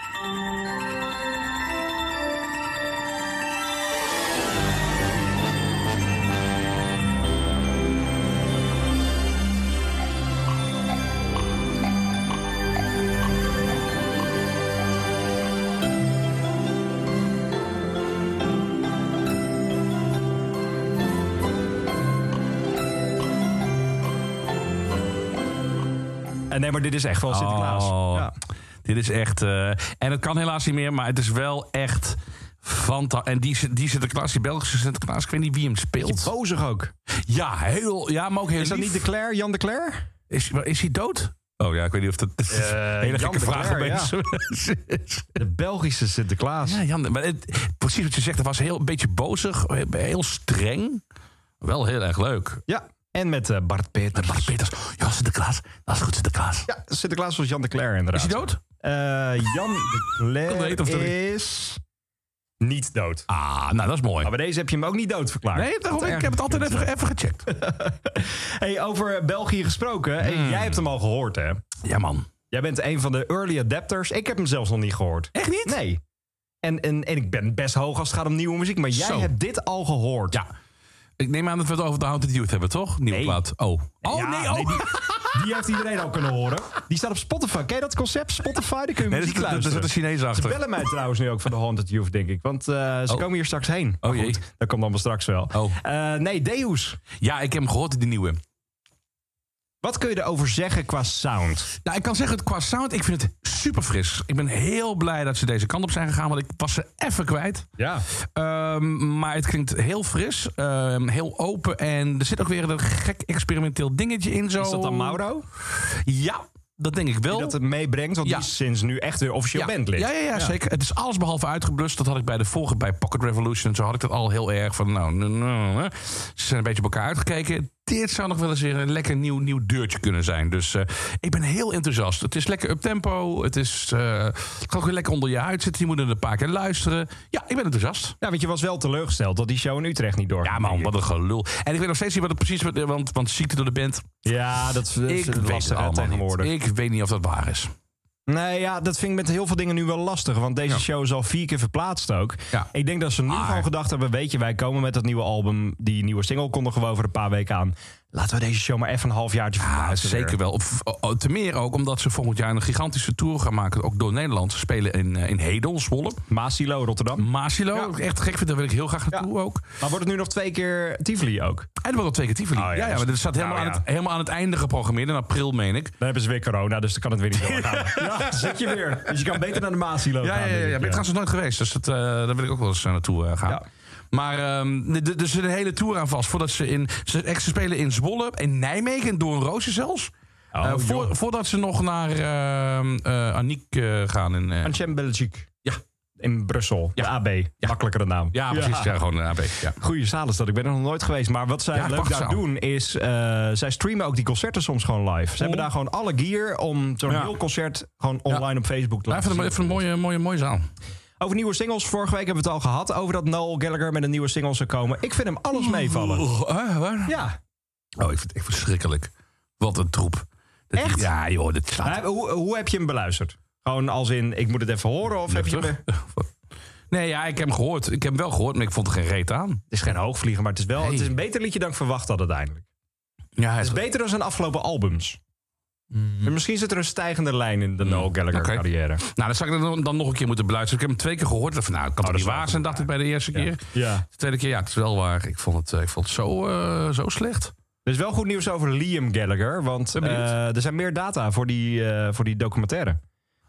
Speaker 3: En nee, maar dit is echt wel Sinterklaas.
Speaker 2: Oh,
Speaker 3: Ja.
Speaker 2: Dit is echt. eh, en het kan helaas niet meer, maar het is wel echt. Fanta en die, Sin- die Sinterklaas, die Belgische Sinterklaas, ik weet niet wie hem speelt.
Speaker 3: Bozig ook.
Speaker 2: Ja, heel, ja maar ook heel
Speaker 3: Is dat
Speaker 2: lief.
Speaker 3: niet de Claire, Jan de Claire?
Speaker 2: is, is hij dood? Oh ja, ik weet niet of dat dat is een hele
Speaker 3: Jan
Speaker 2: gekke
Speaker 3: de
Speaker 2: vraag
Speaker 3: Cler,
Speaker 2: opeens. is.
Speaker 3: De Belgische Sinterklaas.
Speaker 2: Ja, Jan, de- maar het, precies wat je zegt, dat was heel, een beetje bozig, heel streng. Wel heel erg leuk.
Speaker 3: Ja, en met eh, Bart Peters.
Speaker 2: Bart Peters, ja Sinterklaas, dat is goed Sinterklaas.
Speaker 3: Ja, Sinterklaas was Jan de Cler
Speaker 2: Is
Speaker 3: inderdaad.
Speaker 2: hij dood?
Speaker 3: Eh, Jan de
Speaker 2: Kan
Speaker 3: Cler
Speaker 2: het of dat-
Speaker 3: is niet dood.
Speaker 2: Ah, nou dat is mooi.
Speaker 3: Maar bij deze heb je hem ook niet dood verklaard.
Speaker 2: Nee, daarom,
Speaker 3: Wat
Speaker 2: ik
Speaker 3: erg.
Speaker 2: heb het altijd even, even gecheckt.
Speaker 3: Hey, over eh, België gesproken. Hey,
Speaker 2: Hmm.
Speaker 3: jij hebt hem al gehoord, hè?
Speaker 2: Ja man.
Speaker 3: Jij bent een van de early adapters. Ik heb hem zelfs nog niet gehoord.
Speaker 2: Echt niet?
Speaker 3: Nee. En, en, en ik ben best hoog als het gaat om nieuwe muziek. Maar jij
Speaker 2: Zo.
Speaker 3: hebt dit al gehoord.
Speaker 2: Ja. Ik neem aan dat we het over de Haunted Youth hebben, toch? Nieuwe
Speaker 3: Nee.
Speaker 2: plaat. Oh. Oh,
Speaker 3: Ja,
Speaker 2: nee, oh.
Speaker 3: nee, die, die heeft iedereen al kunnen horen. Die staat op Spotify. Ken je dat concept? Spotify, daar kun je
Speaker 2: Nee, dat
Speaker 3: muziek
Speaker 2: is- dat- dat
Speaker 3: luisteren.
Speaker 2: zit een Chinees achter.
Speaker 3: Ze bellen mij trouwens nu ook van de Haunted Youth, denk ik. Want eh, ze
Speaker 2: Oh.
Speaker 3: komen hier straks heen. Maar
Speaker 2: jee.
Speaker 3: dat komt allemaal straks wel.
Speaker 2: Oh.
Speaker 3: Eh, nee, Deus.
Speaker 2: Ja, ik heb hem gehoord, die nieuwe.
Speaker 3: Wat kun je erover zeggen qua sound?
Speaker 2: Nou, ik kan zeggen, qua sound, ik vind het super fris. Ik ben heel blij dat ze deze kant op zijn gegaan, want ik was ze even kwijt.
Speaker 3: Ja.
Speaker 2: Ehm, maar het klinkt heel fris, ehm, heel open en er zit ook weer een gek experimenteel dingetje in. Zo.
Speaker 3: Is dat dan Mauro?
Speaker 2: Ja, dat denk ik wel.
Speaker 3: Die dat het meebrengt, want
Speaker 2: Oh. Ja.
Speaker 3: die is sinds nu echt weer officieel
Speaker 2: ja.
Speaker 3: bandlid.
Speaker 2: Ja, ja, ja, zeker. Het is alles behalve uitgeblust. Dat had ik bij de vorige, bij Pocket Revolution. en Zo had ik dat al heel erg van, nou, nou, nou, nou. ze zijn een beetje op elkaar uitgekeken. Dit zou nog wel eens weer een lekker nieuw, nieuw deurtje kunnen zijn. Dus eh, ik ben heel enthousiast. Het is lekker up-tempo. Het is, eh, het kan ook weer lekker onder je huid zitten. Je moet er een paar keer luisteren. Ja, ik ben enthousiast.
Speaker 3: Ja, Nou, want je was wel teleurgesteld dat die show in Utrecht niet doorging.
Speaker 2: Ja, man, wat een gelul. En ik weet nog steeds niet wat het precies... Want, want ziekte door de band,
Speaker 3: Ja, dat dat is
Speaker 2: ik weet het
Speaker 3: lastig hè,
Speaker 2: allemaal
Speaker 3: tegenwoordig.
Speaker 2: niet. Ik weet niet of dat waar is.
Speaker 3: Nee, ja, dat vind ik met heel veel dingen nu wel lastig. Want deze
Speaker 2: Ja.
Speaker 3: show is al vier keer verplaatst ook.
Speaker 2: Ja.
Speaker 3: Ik denk dat ze nu
Speaker 2: Maar-
Speaker 3: gewoon gedacht hebben... weet je, wij komen met dat nieuwe album. Die nieuwe single konden gewoon over een paar weken aan. Laten we deze show maar even een halfjaartje
Speaker 2: Ja,
Speaker 3: verplaatsen.
Speaker 2: zeker wel. Op, o- o- te meer ook omdat ze volgend jaar een gigantische tour gaan maken. Ook door Nederland. Ze spelen in, eh, in Hedel, Zwolle.
Speaker 3: Masilo,
Speaker 2: Mm.
Speaker 3: Rotterdam.
Speaker 2: Masilo,
Speaker 3: Ja.
Speaker 2: wat ik echt gek vind. Daar wil ik heel graag naartoe ook.
Speaker 3: Maar wordt het nu nog twee keer Tivoli ook?
Speaker 2: En er wordt al twee keer Tivoli.
Speaker 3: Oh ja,
Speaker 2: ja, ja,
Speaker 3: dus-
Speaker 2: maar dat staat helemaal,
Speaker 3: nou
Speaker 2: aan
Speaker 3: ja.
Speaker 2: het, helemaal aan het einde geprogrammeerd. In april, meen ik.
Speaker 3: Dan hebben ze weer corona, dus dan kan het weer niet doorgaan. ja, zit je weer. Dus je kan beter naar de Masilo
Speaker 2: Ja,
Speaker 3: gaan.
Speaker 2: ja, ja, ja.
Speaker 3: denk
Speaker 2: Ben
Speaker 3: ik,
Speaker 2: ik trouwens nog nooit geweest. Dus dat, eh, daar wil ik ook wel eens eh, naartoe eh, gaan.
Speaker 3: Ja.
Speaker 2: Maar ehm, de- de- er zit een hele tour aan vast. Voordat ze in. Ze, echt, ze spelen in Zwolle, in Nijmegen, en door een roosje zelfs.
Speaker 3: Oh,
Speaker 2: Eh, voor-
Speaker 3: joh.
Speaker 2: voordat ze nog naar ehm eh, Aniek eh, gaan. In, eh,
Speaker 3: Antjem Belgique.
Speaker 2: Ja.
Speaker 3: In Brussel. De AB. Makkelijkere naam.
Speaker 2: ja, precies. Ja, gewoon een AB. Ja.
Speaker 3: Goede zaal is dat. Ik ben er nog nooit geweest. Maar wat zij
Speaker 2: Ja,
Speaker 3: leuk
Speaker 2: prachtzaal.
Speaker 3: daar doen is... eh, zij streamen ook die concerten soms gewoon live. Ze hebben daar gewoon alle gear om zo'n
Speaker 2: Oh. Ja.
Speaker 3: heel concert... gewoon online op Facebook te
Speaker 2: Ja, ik
Speaker 3: laten
Speaker 2: vind
Speaker 3: zien.
Speaker 2: het Nou, een, mooie, mooie, mooie zaal.
Speaker 3: Over nieuwe singles. Vorige week hebben we het al gehad. Over dat Noel Gallagher met een nieuwe single zou komen. Ik vind hem alles meevallen. Ja.
Speaker 2: Oh, ik vind het echt verschrikkelijk. Wat een troep. Dat
Speaker 3: Echt?
Speaker 2: ja, joh, dit slaat.
Speaker 3: Maar Hoe, hoe heb je hem beluisterd? Gewoon als in, ik moet het even horen? Of heb je hem...
Speaker 2: Nuchter.
Speaker 3: Het
Speaker 2: Nee, ja, ik heb hem gehoord. Ik heb hem wel gehoord, maar ik vond er geen reet aan.
Speaker 3: is geen hoogvlieger, maar het is wel...
Speaker 2: Nee.
Speaker 3: Het is een beter liedje dan ik verwacht had uiteindelijk.
Speaker 2: Ja,
Speaker 3: Het is beter dan zijn afgelopen albums. Maar Misschien zit er een stijgende lijn in de Noel Gallagher
Speaker 2: Mhm. Oké.
Speaker 3: carrière.
Speaker 2: Nou, dan zou ik dan, dan nog een keer moeten beluisteren. Ik heb hem twee keer gehoord. Van, nou, kan
Speaker 3: Oh, dat
Speaker 2: het
Speaker 3: is
Speaker 2: niet
Speaker 3: wel
Speaker 2: waar zijn, dacht ik bij de eerste keer.
Speaker 3: Ja.
Speaker 2: De tweede keer, ja, het is wel waar. Ik vond het, eh, ik vond het zo, eh, zo slecht.
Speaker 3: Er is wel goed nieuws over Liam Gallagher. Want
Speaker 2: Ben benieuwd.
Speaker 3: eh, er zijn meer data voor die, eh, voor die documentaire.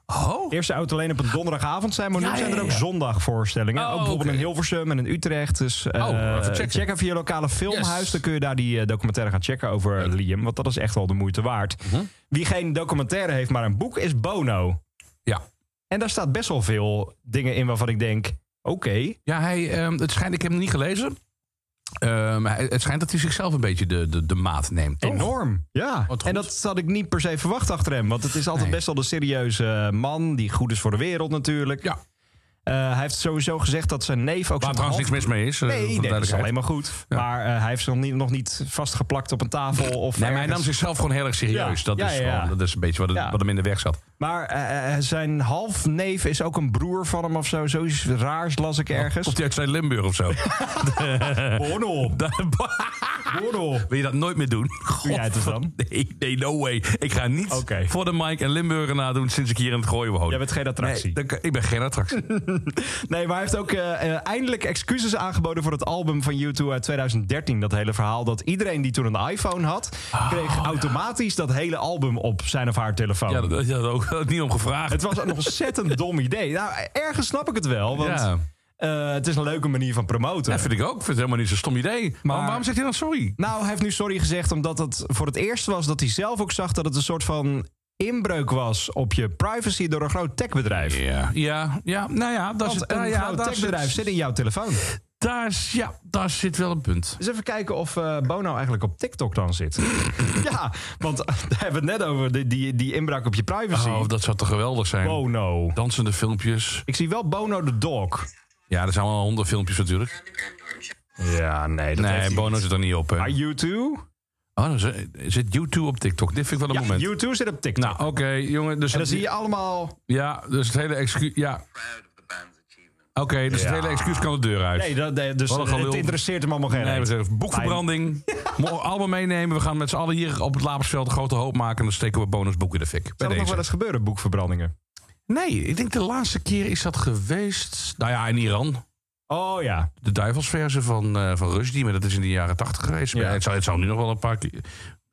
Speaker 2: Oh?
Speaker 3: Eerst zou het alleen op een donderdagavond zijn, maar nu
Speaker 2: Ja, ja,
Speaker 3: zijn er
Speaker 2: ja,
Speaker 3: ook
Speaker 2: ja.
Speaker 3: zondagvoorstellingen.
Speaker 2: Oh,
Speaker 3: ook bijvoorbeeld
Speaker 2: oké.
Speaker 3: in Hilversum en in Utrecht. Dus eh,
Speaker 2: Oh, even checken.
Speaker 3: check even je lokale filmhuis.
Speaker 2: Yes.
Speaker 3: Dan kun je daar die eh, documentaire gaan checken over Liam. Want dat is echt wel de moeite waard.
Speaker 2: Mhm.
Speaker 3: Wie geen documentaire heeft, maar een boek, is Bono.
Speaker 2: Ja.
Speaker 3: En daar staat best wel veel dingen in waarvan ik denk... Oké,
Speaker 2: Ja, hij, ehm, het schijnt, ik heb hem niet gelezen. Ehm, hij- het schijnt dat hij zichzelf een beetje de, de, de maat neemt. toch?
Speaker 3: Enorm. Ja.
Speaker 2: Wat goed.
Speaker 3: en dat had ik niet per se verwacht achter hem. Want het is altijd
Speaker 2: Nee.
Speaker 3: best wel de serieuze eh, man. Die goed is voor de wereld natuurlijk.
Speaker 2: Ja.
Speaker 3: Eh, hij heeft sowieso gezegd dat zijn neef ook
Speaker 2: Waar
Speaker 3: zijn
Speaker 2: trouwens niks
Speaker 3: hand-
Speaker 2: mis mee is. eh, voor de
Speaker 3: Nee, nee, dat is
Speaker 2: duidelijkheid.
Speaker 3: alleen maar goed. Maar eh, hij heeft zich nog niet, nog niet vastgeplakt op een tafel. Of
Speaker 2: Nee, maar hij nam
Speaker 3: ergens.
Speaker 2: zichzelf gewoon heel erg serieus.
Speaker 3: Ja,
Speaker 2: Dat,
Speaker 3: ja,
Speaker 2: is
Speaker 3: ja, ja.
Speaker 2: gewoon- dat is een beetje wat, het-
Speaker 3: Ja.
Speaker 2: wat hem in de weg zat.
Speaker 3: maar eh, eh, zijn halfneef is ook een broer van hem of zo. Zoiets raars las ik ergens.
Speaker 2: Of die uit Zuid-Limburg of zo.
Speaker 3: Bono. Bono.
Speaker 2: Wil je dat nooit meer doen? God,
Speaker 3: jij het dan?
Speaker 2: Nee, nee, no way. Ik ga niet
Speaker 3: Oké.
Speaker 2: voor de Mike en Limburger nadoen sinds ik hier in het gooien woon.
Speaker 3: Jij bent geen attractie. Oh.
Speaker 2: Nee, dan- ik ben geen attractie.
Speaker 3: Nee, maar hij heeft ook eh, eh, eindelijk excuses aangeboden voor het album van U2 uit 2013. Dat hele verhaal dat iedereen die toen een iPhone had,
Speaker 2: Oh,
Speaker 3: kreeg automatisch dat hele album op zijn of haar telefoon.
Speaker 2: ja, dat had ook dat had niet om gevraagd.
Speaker 3: Het was een ontzettend dom idee. Nou, ergens snap ik het wel, want
Speaker 2: ja.
Speaker 3: eh, het is een leuke manier van promoten.
Speaker 2: dat vind ik ook. Ik vind het helemaal niet zo'n stom idee. Maar waarom, waarom zegt hij dan sorry?
Speaker 3: Nou, hij heeft nu sorry gezegd omdat het voor het eerst was dat hij zelf ook zag dat het een soort van inbreuk was op je privacy door een groot techbedrijf.
Speaker 2: Ja, ja, ja nou ja, dat is
Speaker 3: Want
Speaker 2: het.
Speaker 3: een
Speaker 2: nou ja,
Speaker 3: groot
Speaker 2: daar
Speaker 3: techbedrijf
Speaker 2: zit-
Speaker 3: zit in jouw telefoon.
Speaker 2: daar is- ja, daar zit wel een punt.
Speaker 3: Dus even kijken of eh, Bono eigenlijk op TikTok dan zit. ja, want daar hebben we het net over. Die, die, die inbraak op je privacy.
Speaker 2: Oh, dat zou toch geweldig zijn?
Speaker 3: Bono.
Speaker 2: Dansende filmpjes.
Speaker 3: Ik zie wel Bono de dog.
Speaker 2: Ja, er zijn wel honderd filmpjes natuurlijk.
Speaker 3: Ja, nee. Dat
Speaker 2: Nee, Bono zit er niet op. hè.
Speaker 3: Maar U2?
Speaker 2: Oh, dan zit- zit U2 op TikTok. Dit vind ik wel
Speaker 3: Ja,
Speaker 2: een moment.
Speaker 3: U2 zit op TikTok.
Speaker 2: Nou, oké, jongen. Dus
Speaker 3: en dan
Speaker 2: het-
Speaker 3: zie je allemaal...
Speaker 2: Ja, dus het hele excuus... Ja. Oké, dus
Speaker 3: Ja.
Speaker 2: het hele excuus kan de deur uit.
Speaker 3: Nee, dat, nee, dus
Speaker 2: Wat een gelul.
Speaker 3: het interesseert hem allemaal geen
Speaker 2: Nee,
Speaker 3: reet.
Speaker 2: we zeggen boekverbranding. Mo- Allemaal meenemen. We gaan met z'n allen hier op het Lapersveld een grote hoop maken. En dan steken we bonusboeken in de fik. Bij
Speaker 3: Zou dat nog wel
Speaker 2: deze.
Speaker 3: eens gebeuren, boekverbrandingen?
Speaker 2: Nee, ik denk de laatste keer is dat geweest... Nou ja, in Iran.
Speaker 3: Oh ja.
Speaker 2: De duivelsverse van, eh van Rushdie. Maar dat is in de jaren tachtig geweest. Maar
Speaker 3: Ja.
Speaker 2: Het, zou, het zou nu nog wel een paar keer...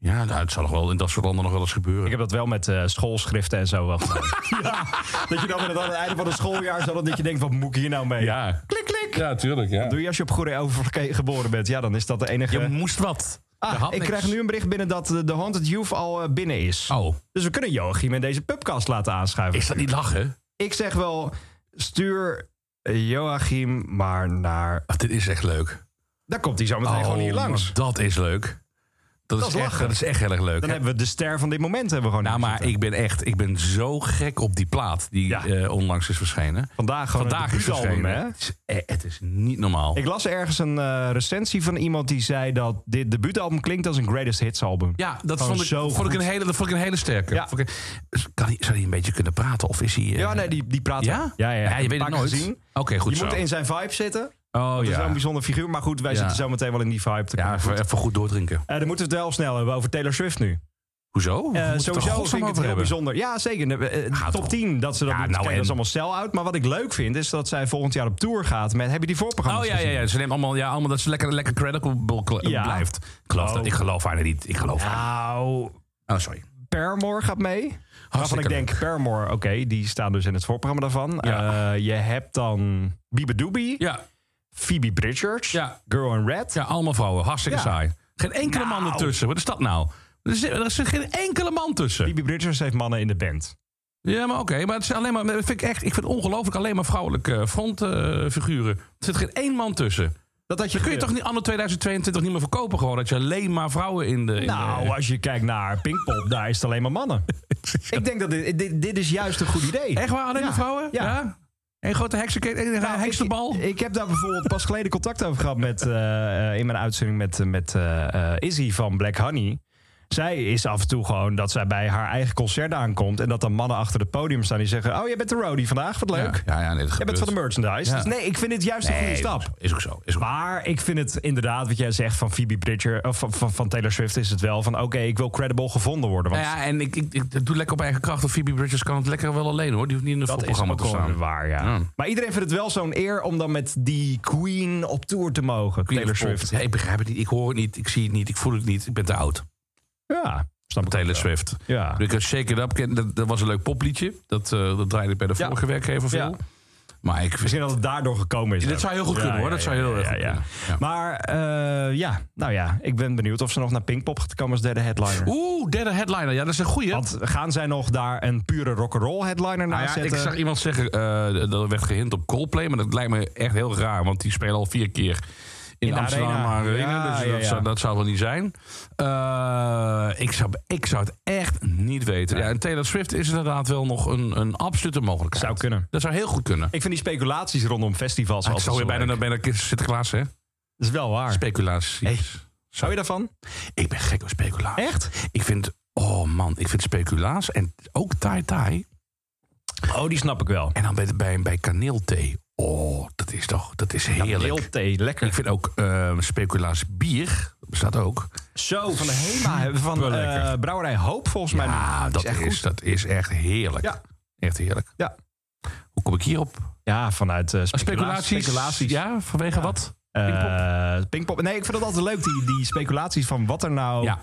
Speaker 2: Ja, nou, het zal nog wel in dat soort landen nog wel eens gebeuren.
Speaker 3: Ik heb dat wel met eh, schoolschriften en zo wel gedaan. Ja, Dat je dan inderdaad aan het einde van het schooljaar zo dat je denkt, wat moet ik hier nou mee?
Speaker 2: Ja. Klik, klik. Ja, tuurlijk. Ja.
Speaker 3: Doe je als je op goede over geboren bent, ja, dan is dat de enige...
Speaker 2: moest wat. Je
Speaker 3: ah,
Speaker 2: had
Speaker 3: ik
Speaker 2: niks.
Speaker 3: krijg nu een bericht binnen dat eh, de Haunted Youth al eh, binnen is.
Speaker 2: Oh,
Speaker 3: Dus we kunnen Joachim in deze pubcast laten aanschuiven.
Speaker 2: is dat niet lachen?
Speaker 3: Ik zeg wel, stuur Joachim maar naar...
Speaker 2: Ach, dit is echt leuk.
Speaker 3: Daar komt hij zo meteen gewoon hier langs.
Speaker 2: maar Dat is leuk. Dat,
Speaker 3: is
Speaker 2: is echt,
Speaker 3: lachen.
Speaker 2: dat is echt heel erg leuk.
Speaker 3: Dan hebben we de ster van dit moment hebben we gewoon
Speaker 2: nou,
Speaker 3: hier
Speaker 2: maar
Speaker 3: zitten.
Speaker 2: ik ben echt ik ben zo gek op die plaat die
Speaker 3: Ja.
Speaker 2: eh, onlangs is verschenen.
Speaker 3: Vandaag gewoon
Speaker 2: Vandaag
Speaker 3: het
Speaker 2: is verschenen.
Speaker 3: debuutalbum, hè?
Speaker 2: Het, is, eh, het is niet normaal.
Speaker 3: Ik las ergens een eh, recensie van iemand die zei dat dit debuutalbum klinkt als een greatest hits album.
Speaker 2: ja, dat
Speaker 3: Gewoon
Speaker 2: vond ik,
Speaker 3: zo
Speaker 2: vond, ik een
Speaker 3: goed.
Speaker 2: hele, dat vond ik een hele sterke.
Speaker 3: Ja.
Speaker 2: Vond ik- kan hij, zou hij een beetje kunnen praten? Of is hij... eh,
Speaker 3: Ja, nee, die, die praat
Speaker 2: Ja?
Speaker 3: wel. Ja, ja,
Speaker 2: Ja, je weet het
Speaker 3: Vaak
Speaker 2: nooit.
Speaker 3: gezien.
Speaker 2: Oké, goed
Speaker 3: je
Speaker 2: zo.
Speaker 3: moet in zijn vibe zitten. Dat
Speaker 2: oh
Speaker 3: is wel
Speaker 2: ja.
Speaker 3: een bijzonder figuur. Maar goed, wij
Speaker 2: Ja.
Speaker 3: zitten zo meteen wel in die vibe.
Speaker 2: Ja,
Speaker 3: ja,
Speaker 2: even, even goed doordrinken.
Speaker 3: Eh, dan moeten we het wel snel hebben over Taylor Swift nu.
Speaker 2: Hoezo? Oh, We
Speaker 3: Eh,
Speaker 2: moeten het er
Speaker 3: sowieso
Speaker 2: godsnaam
Speaker 3: vind ik het
Speaker 2: over
Speaker 3: heel
Speaker 2: hebben.
Speaker 3: bijzonder. Ja, zeker. Eh, eh,
Speaker 2: Ah,
Speaker 3: top
Speaker 2: toch.
Speaker 3: 10 dat ze dat
Speaker 2: Ja,
Speaker 3: doen.
Speaker 2: nou
Speaker 3: Kijk,
Speaker 2: en-
Speaker 3: Dat is allemaal sell-out. Maar wat ik leuk vind, is dat zij volgend jaar op tour gaat met... Heb je die voorprogramma's
Speaker 2: Oh ja, ja,
Speaker 3: gezien?
Speaker 2: ja. Ze neemt allemaal, ja, allemaal dat ze lekker, lekker credible kl-
Speaker 3: Ja.
Speaker 2: blijft. Ik geloof,
Speaker 3: Oh.
Speaker 2: dat, ik geloof haar niet. Ik geloof haar.
Speaker 3: Nou,
Speaker 2: Oh, sorry.
Speaker 3: Paramore gaat mee. Waarvan ik
Speaker 2: Hartstikke
Speaker 3: denk, Paramore, oké, die staan dus in het voorprogramma daarvan.
Speaker 2: Ja.
Speaker 3: Eh, je hebt dan Biba Doobie,
Speaker 2: Ja,
Speaker 3: Phoebe Bridgers,
Speaker 2: Ja.
Speaker 3: Girl in Red.
Speaker 2: ja allemaal vrouwen. Hartstikke
Speaker 3: Ja.
Speaker 2: saai. Geen enkele man
Speaker 3: Nou.
Speaker 2: ertussen. Wat is dat nou? Er is, er is geen enkele man tussen.
Speaker 3: Phoebe Bridgers heeft mannen in de band.
Speaker 2: Ja, maar oké. maar het is alleen maar. dat Vind ik, echt, ik vind het ongelooflijk alleen maar vrouwelijke eh, frontfiguren. er zit geen één man tussen.
Speaker 3: Dat had je
Speaker 2: Dan kun je
Speaker 3: ge-
Speaker 2: toch niet anno 2022 niet meer verkopen gewoon dat je alleen maar vrouwen in de. in de-
Speaker 3: Nou, als je kijkt naar Pinkpop, daar is het alleen maar mannen. Ik denk dat dit, dit, dit is juist een goed idee.
Speaker 2: echt waar alleen maar
Speaker 3: Ja,
Speaker 2: vrouwen?
Speaker 3: ja.
Speaker 2: Een grote heksenkeet, een
Speaker 3: Nou,
Speaker 2: Ah, heksenbal.
Speaker 3: Ik, ik heb daar bijvoorbeeld pas geleden contact over gehad met, eh, eh, in mijn uitzending met, eh, met eh, eh, Izzy van Black Honey. Zij is af en toe gewoon dat zij bij haar eigen concert aankomt. En dat dan mannen achter het podium staan die zeggen: Oh, jij bent de roadie vandaag, wat leuk.
Speaker 2: Ja, ja, ja nee, dat
Speaker 3: Jij bent van de merchandise.
Speaker 2: Ja.
Speaker 3: Dus nee, ik vind dit juist een goede stap.
Speaker 2: Is ook zo. Is ook zo.
Speaker 3: Maar ik vind het inderdaad, wat jij zegt van Phoebe Bridger, of van, van, van Taylor Swift, is het wel van: Oké, ik wil credible gevonden worden. Want
Speaker 2: Nou ja, en ik, ik, ik doe lekker op eigen kracht. Of Phoebe Bridges kan het lekker wel alleen hoor. Die hoeft niet in een
Speaker 3: dat is
Speaker 2: voorprogramma
Speaker 3: ook
Speaker 2: te
Speaker 3: gewoon
Speaker 2: staan.
Speaker 3: waar, ja.
Speaker 2: Ja.
Speaker 3: Maar iedereen vindt het wel zo'n eer om dan met die queen op tour te mogen.
Speaker 2: Queen
Speaker 3: Taylor
Speaker 2: of Pop.
Speaker 3: Swift.
Speaker 2: Ja, ik begrijp het niet. Ik hoor het niet. Ik zie het niet. Ik voel het niet. Ik ben te oud.
Speaker 3: Ja, snap ik.
Speaker 2: Taylor Swift.
Speaker 3: Ja.
Speaker 2: Ik had Shake It Up. ken- Dat, dat was een leuk popliedje. Dat, eh, dat draaide ik bij de
Speaker 3: Ja.
Speaker 2: vorige werkgever veel.
Speaker 3: Ja.
Speaker 2: Maar ik
Speaker 3: Misschien dat het daardoor gekomen is.
Speaker 2: Dit zou heel goed kunnen, hoor. Dat zou heel erg
Speaker 3: ja,
Speaker 2: goed
Speaker 3: ja.
Speaker 2: kunnen. Ja.
Speaker 3: Maar eh, ja, nou ja, ik ben benieuwd of ze nog naar Pinkpop gaat komen als derde headliner.
Speaker 2: Oeh, derde headliner. Ja, dat is een goeie.
Speaker 3: Want gaan zij nog daar een pure rock'n'roll headliner
Speaker 2: Nou
Speaker 3: naar
Speaker 2: ja, ik
Speaker 3: zetten?
Speaker 2: zag iemand zeggen, eh er werd gehind op Coldplay, maar dat lijkt me echt heel raar, want die spelen al vier keer in,
Speaker 3: In de
Speaker 2: Amsterdam
Speaker 3: arena.
Speaker 2: Arena,
Speaker 3: Ja,
Speaker 2: dus
Speaker 3: ja,
Speaker 2: dat,
Speaker 3: ja.
Speaker 2: Zou, dat zou wel niet zijn. Eh, ik, zou, ik zou het echt niet weten. Ja, en Taylor Swift is inderdaad wel nog een, een absolute mogelijkheid.
Speaker 3: Zou kunnen.
Speaker 2: Dat zou heel goed kunnen.
Speaker 3: Ik vind die speculaties rondom festivals
Speaker 2: Ah, Ik
Speaker 3: altijd
Speaker 2: zou weer
Speaker 3: zo
Speaker 2: bijna
Speaker 3: leuk.
Speaker 2: naar bijna Sinterklaas, hè?
Speaker 3: Dat is wel waar.
Speaker 2: Speculaties.
Speaker 3: Hey. Zou je daarvan?
Speaker 2: Ik ben gek op speculaas.
Speaker 3: Echt?
Speaker 2: Ik vind, oh man, ik vind speculaas en ook tai-tai.
Speaker 3: Oh, die snap ik wel.
Speaker 2: En dan bij, bij, bij kaneelthee. Oh, dat is toch, dat is heerlijk.
Speaker 3: Heel thee, lekker.
Speaker 2: Ik vind ook eh, speculaas bier, bestaat ook.
Speaker 3: Zo, van de HEMA hebben we van
Speaker 2: Superlekker.
Speaker 3: eh, Brouwerij Hoop volgens mij.
Speaker 2: Ah,
Speaker 3: nu.
Speaker 2: dat,
Speaker 3: echt
Speaker 2: is,
Speaker 3: goed.
Speaker 2: dat is echt heerlijk.
Speaker 3: Ja.
Speaker 2: Echt heerlijk.
Speaker 3: Ja.
Speaker 2: Hoe kom ik hierop?
Speaker 3: Ja, vanuit eh, speculaties.
Speaker 2: Speculaties.
Speaker 3: speculaties.
Speaker 2: Ja, vanwege wat?
Speaker 3: Eh, Pinkpop. Nee, ik vind dat altijd leuk, die, die speculaties van wat er nou
Speaker 2: Ja.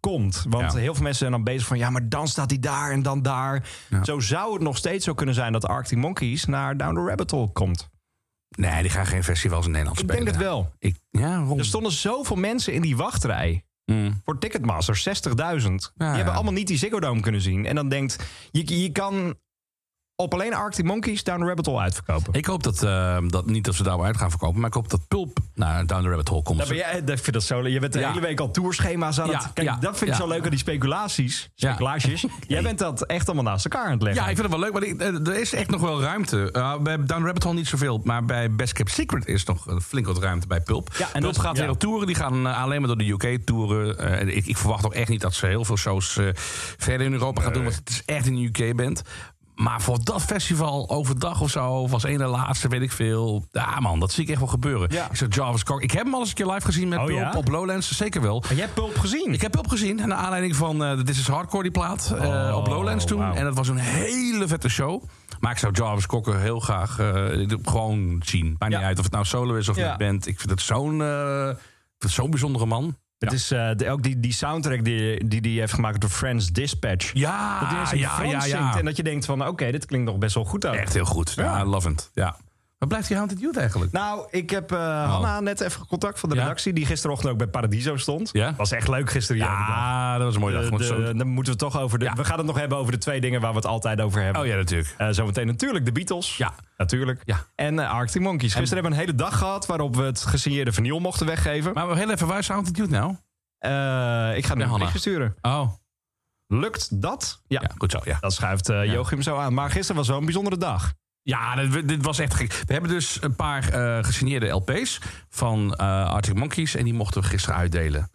Speaker 3: komt. Want
Speaker 2: Ja.
Speaker 3: heel veel mensen zijn dan bezig van... ja, maar dan staat hij daar en dan daar. Zo zou het nog steeds zo kunnen zijn... dat de Arctic Monkeys naar Down the Rabbit Hole komt.
Speaker 2: Nee, die gaan geen festivals in Nederland
Speaker 3: Ik
Speaker 2: spelen.
Speaker 3: denk het wel. Dus-
Speaker 2: Ik, ja, rond.
Speaker 3: Er stonden zoveel mensen in die wachtrij...
Speaker 2: Mm.
Speaker 3: voor Ticketmaster, 60.000. die
Speaker 2: ja.
Speaker 3: hebben allemaal niet die Ziggo Dome kunnen zien. En dan denkt, je, je kan op alleen Arctic Monkeys... Down the Rabbit Hole uitverkopen.
Speaker 2: Ik hoop dat, eh, dat niet dat ze daar maar uit gaan verkopen, maar ik hoop dat Pulp naar Down the Rabbit Hole komt.
Speaker 3: Ja, Nou, maar jij, dat- ik vind dat zo leuk. Je bent de
Speaker 2: Ja.
Speaker 3: hele week al tourschema's aan
Speaker 2: Ja,
Speaker 3: het... Kijk,
Speaker 2: ja,
Speaker 3: dat vind ik
Speaker 2: ja.
Speaker 3: zo leuk aan die speculaties.
Speaker 2: Ja.
Speaker 3: Speculages. Jij bent dat echt allemaal naast elkaar aan het leggen.
Speaker 2: Ja, ik vind het wel leuk, maar ik- eh, er is echt nog wel ruimte. Eh, bij Down Rabbit Hole niet zoveel, maar bij Best Kept Secret is nog een flink wat ruimte bij Pulp.
Speaker 3: Ja, en
Speaker 2: Pulp
Speaker 3: dat-
Speaker 2: gaat
Speaker 3: ja.
Speaker 2: weer op toeren, die gaan eh, alleen maar door de UK toeren. Eh, en ik, ik verwacht ook echt niet dat ze heel veel shows eh, verder in Europa gaan doen, want het is echt een UK band. Maar voor dat festival overdag of zo, of als een de laatste, weet ik veel. Ja man, dat zie ik echt wel gebeuren.
Speaker 3: Ja.
Speaker 2: Ik zou Jarvis Cocker, ik heb hem al eens een keer live gezien met
Speaker 3: Oh,
Speaker 2: Pulp
Speaker 3: ja?
Speaker 2: op Lowlands, zeker wel.
Speaker 3: Maar jij hebt Pulp gezien.
Speaker 2: Ik heb Pulp gezien, naar aanleiding van eh This is Hardcore, die plaat, eh, op Lowlands toen.
Speaker 3: Oh, wauw.
Speaker 2: En dat was een hele vette show. Maar ik zou Jarvis Cocker heel graag eh, gewoon zien. Maakt
Speaker 3: Ja.
Speaker 2: niet uit of het nou solo is of
Speaker 3: Ja.
Speaker 2: met band. Ik vind het zo'n eh, ik vind het zo'n bijzondere man.
Speaker 3: Het is eh, de- ook die, die soundtrack die die, die heeft gemaakt door Friends Dispatch.
Speaker 2: Ja,
Speaker 3: dat die eens in
Speaker 2: ja,
Speaker 3: Frans
Speaker 2: ja, ja.
Speaker 3: zingt en dat je denkt van oké, dit klinkt nog best wel goed uit.
Speaker 2: Echt heel goed. Ja, lovend. Ja. Wat blijft die Haunted Youth eigenlijk?
Speaker 3: Nou, ik heb eh, Hanna net even contact van de
Speaker 2: Oh. Ja.
Speaker 3: redactie, die gisterochtend ook bij Paradiso stond.
Speaker 2: Ja?
Speaker 3: Was echt leuk gisteren. hier aan de dag.
Speaker 2: ja, dat was een mooie dag.
Speaker 3: eh, De-
Speaker 2: Want
Speaker 3: de-
Speaker 2: zo-
Speaker 3: dan moeten we toch over de.
Speaker 2: Ja.
Speaker 3: We gaan het nog hebben over de twee dingen waar we het altijd over hebben.
Speaker 2: Oh ja, natuurlijk.
Speaker 3: Eh, zometeen natuurlijk de Beatles.
Speaker 2: Ja.
Speaker 3: Natuurlijk.
Speaker 2: Ja.
Speaker 3: En eh, Arctic Monkeys. Gisteren hebben we een hele dag gehad waarop we het gesigneerde vinyl mochten weggeven.
Speaker 2: Maar heel even, waar is Haunted Youth nou?
Speaker 3: Eh, ik ga nu
Speaker 2: Naar
Speaker 3: een
Speaker 2: Hanna.
Speaker 3: berichtje sturen.
Speaker 2: Oh,
Speaker 3: Lukt dat? Ja.
Speaker 2: ja, goed zo, ja.
Speaker 3: Dat schuift eh,
Speaker 2: Ja.
Speaker 3: Joachim zo aan. Maar gisteren was wel een bijzondere dag.
Speaker 2: Ja, dit, dit was echt gek. We hebben dus een paar eh gesigneerde LP's van eh Arctic Monkeys... en die mochten we gisteren uitdelen.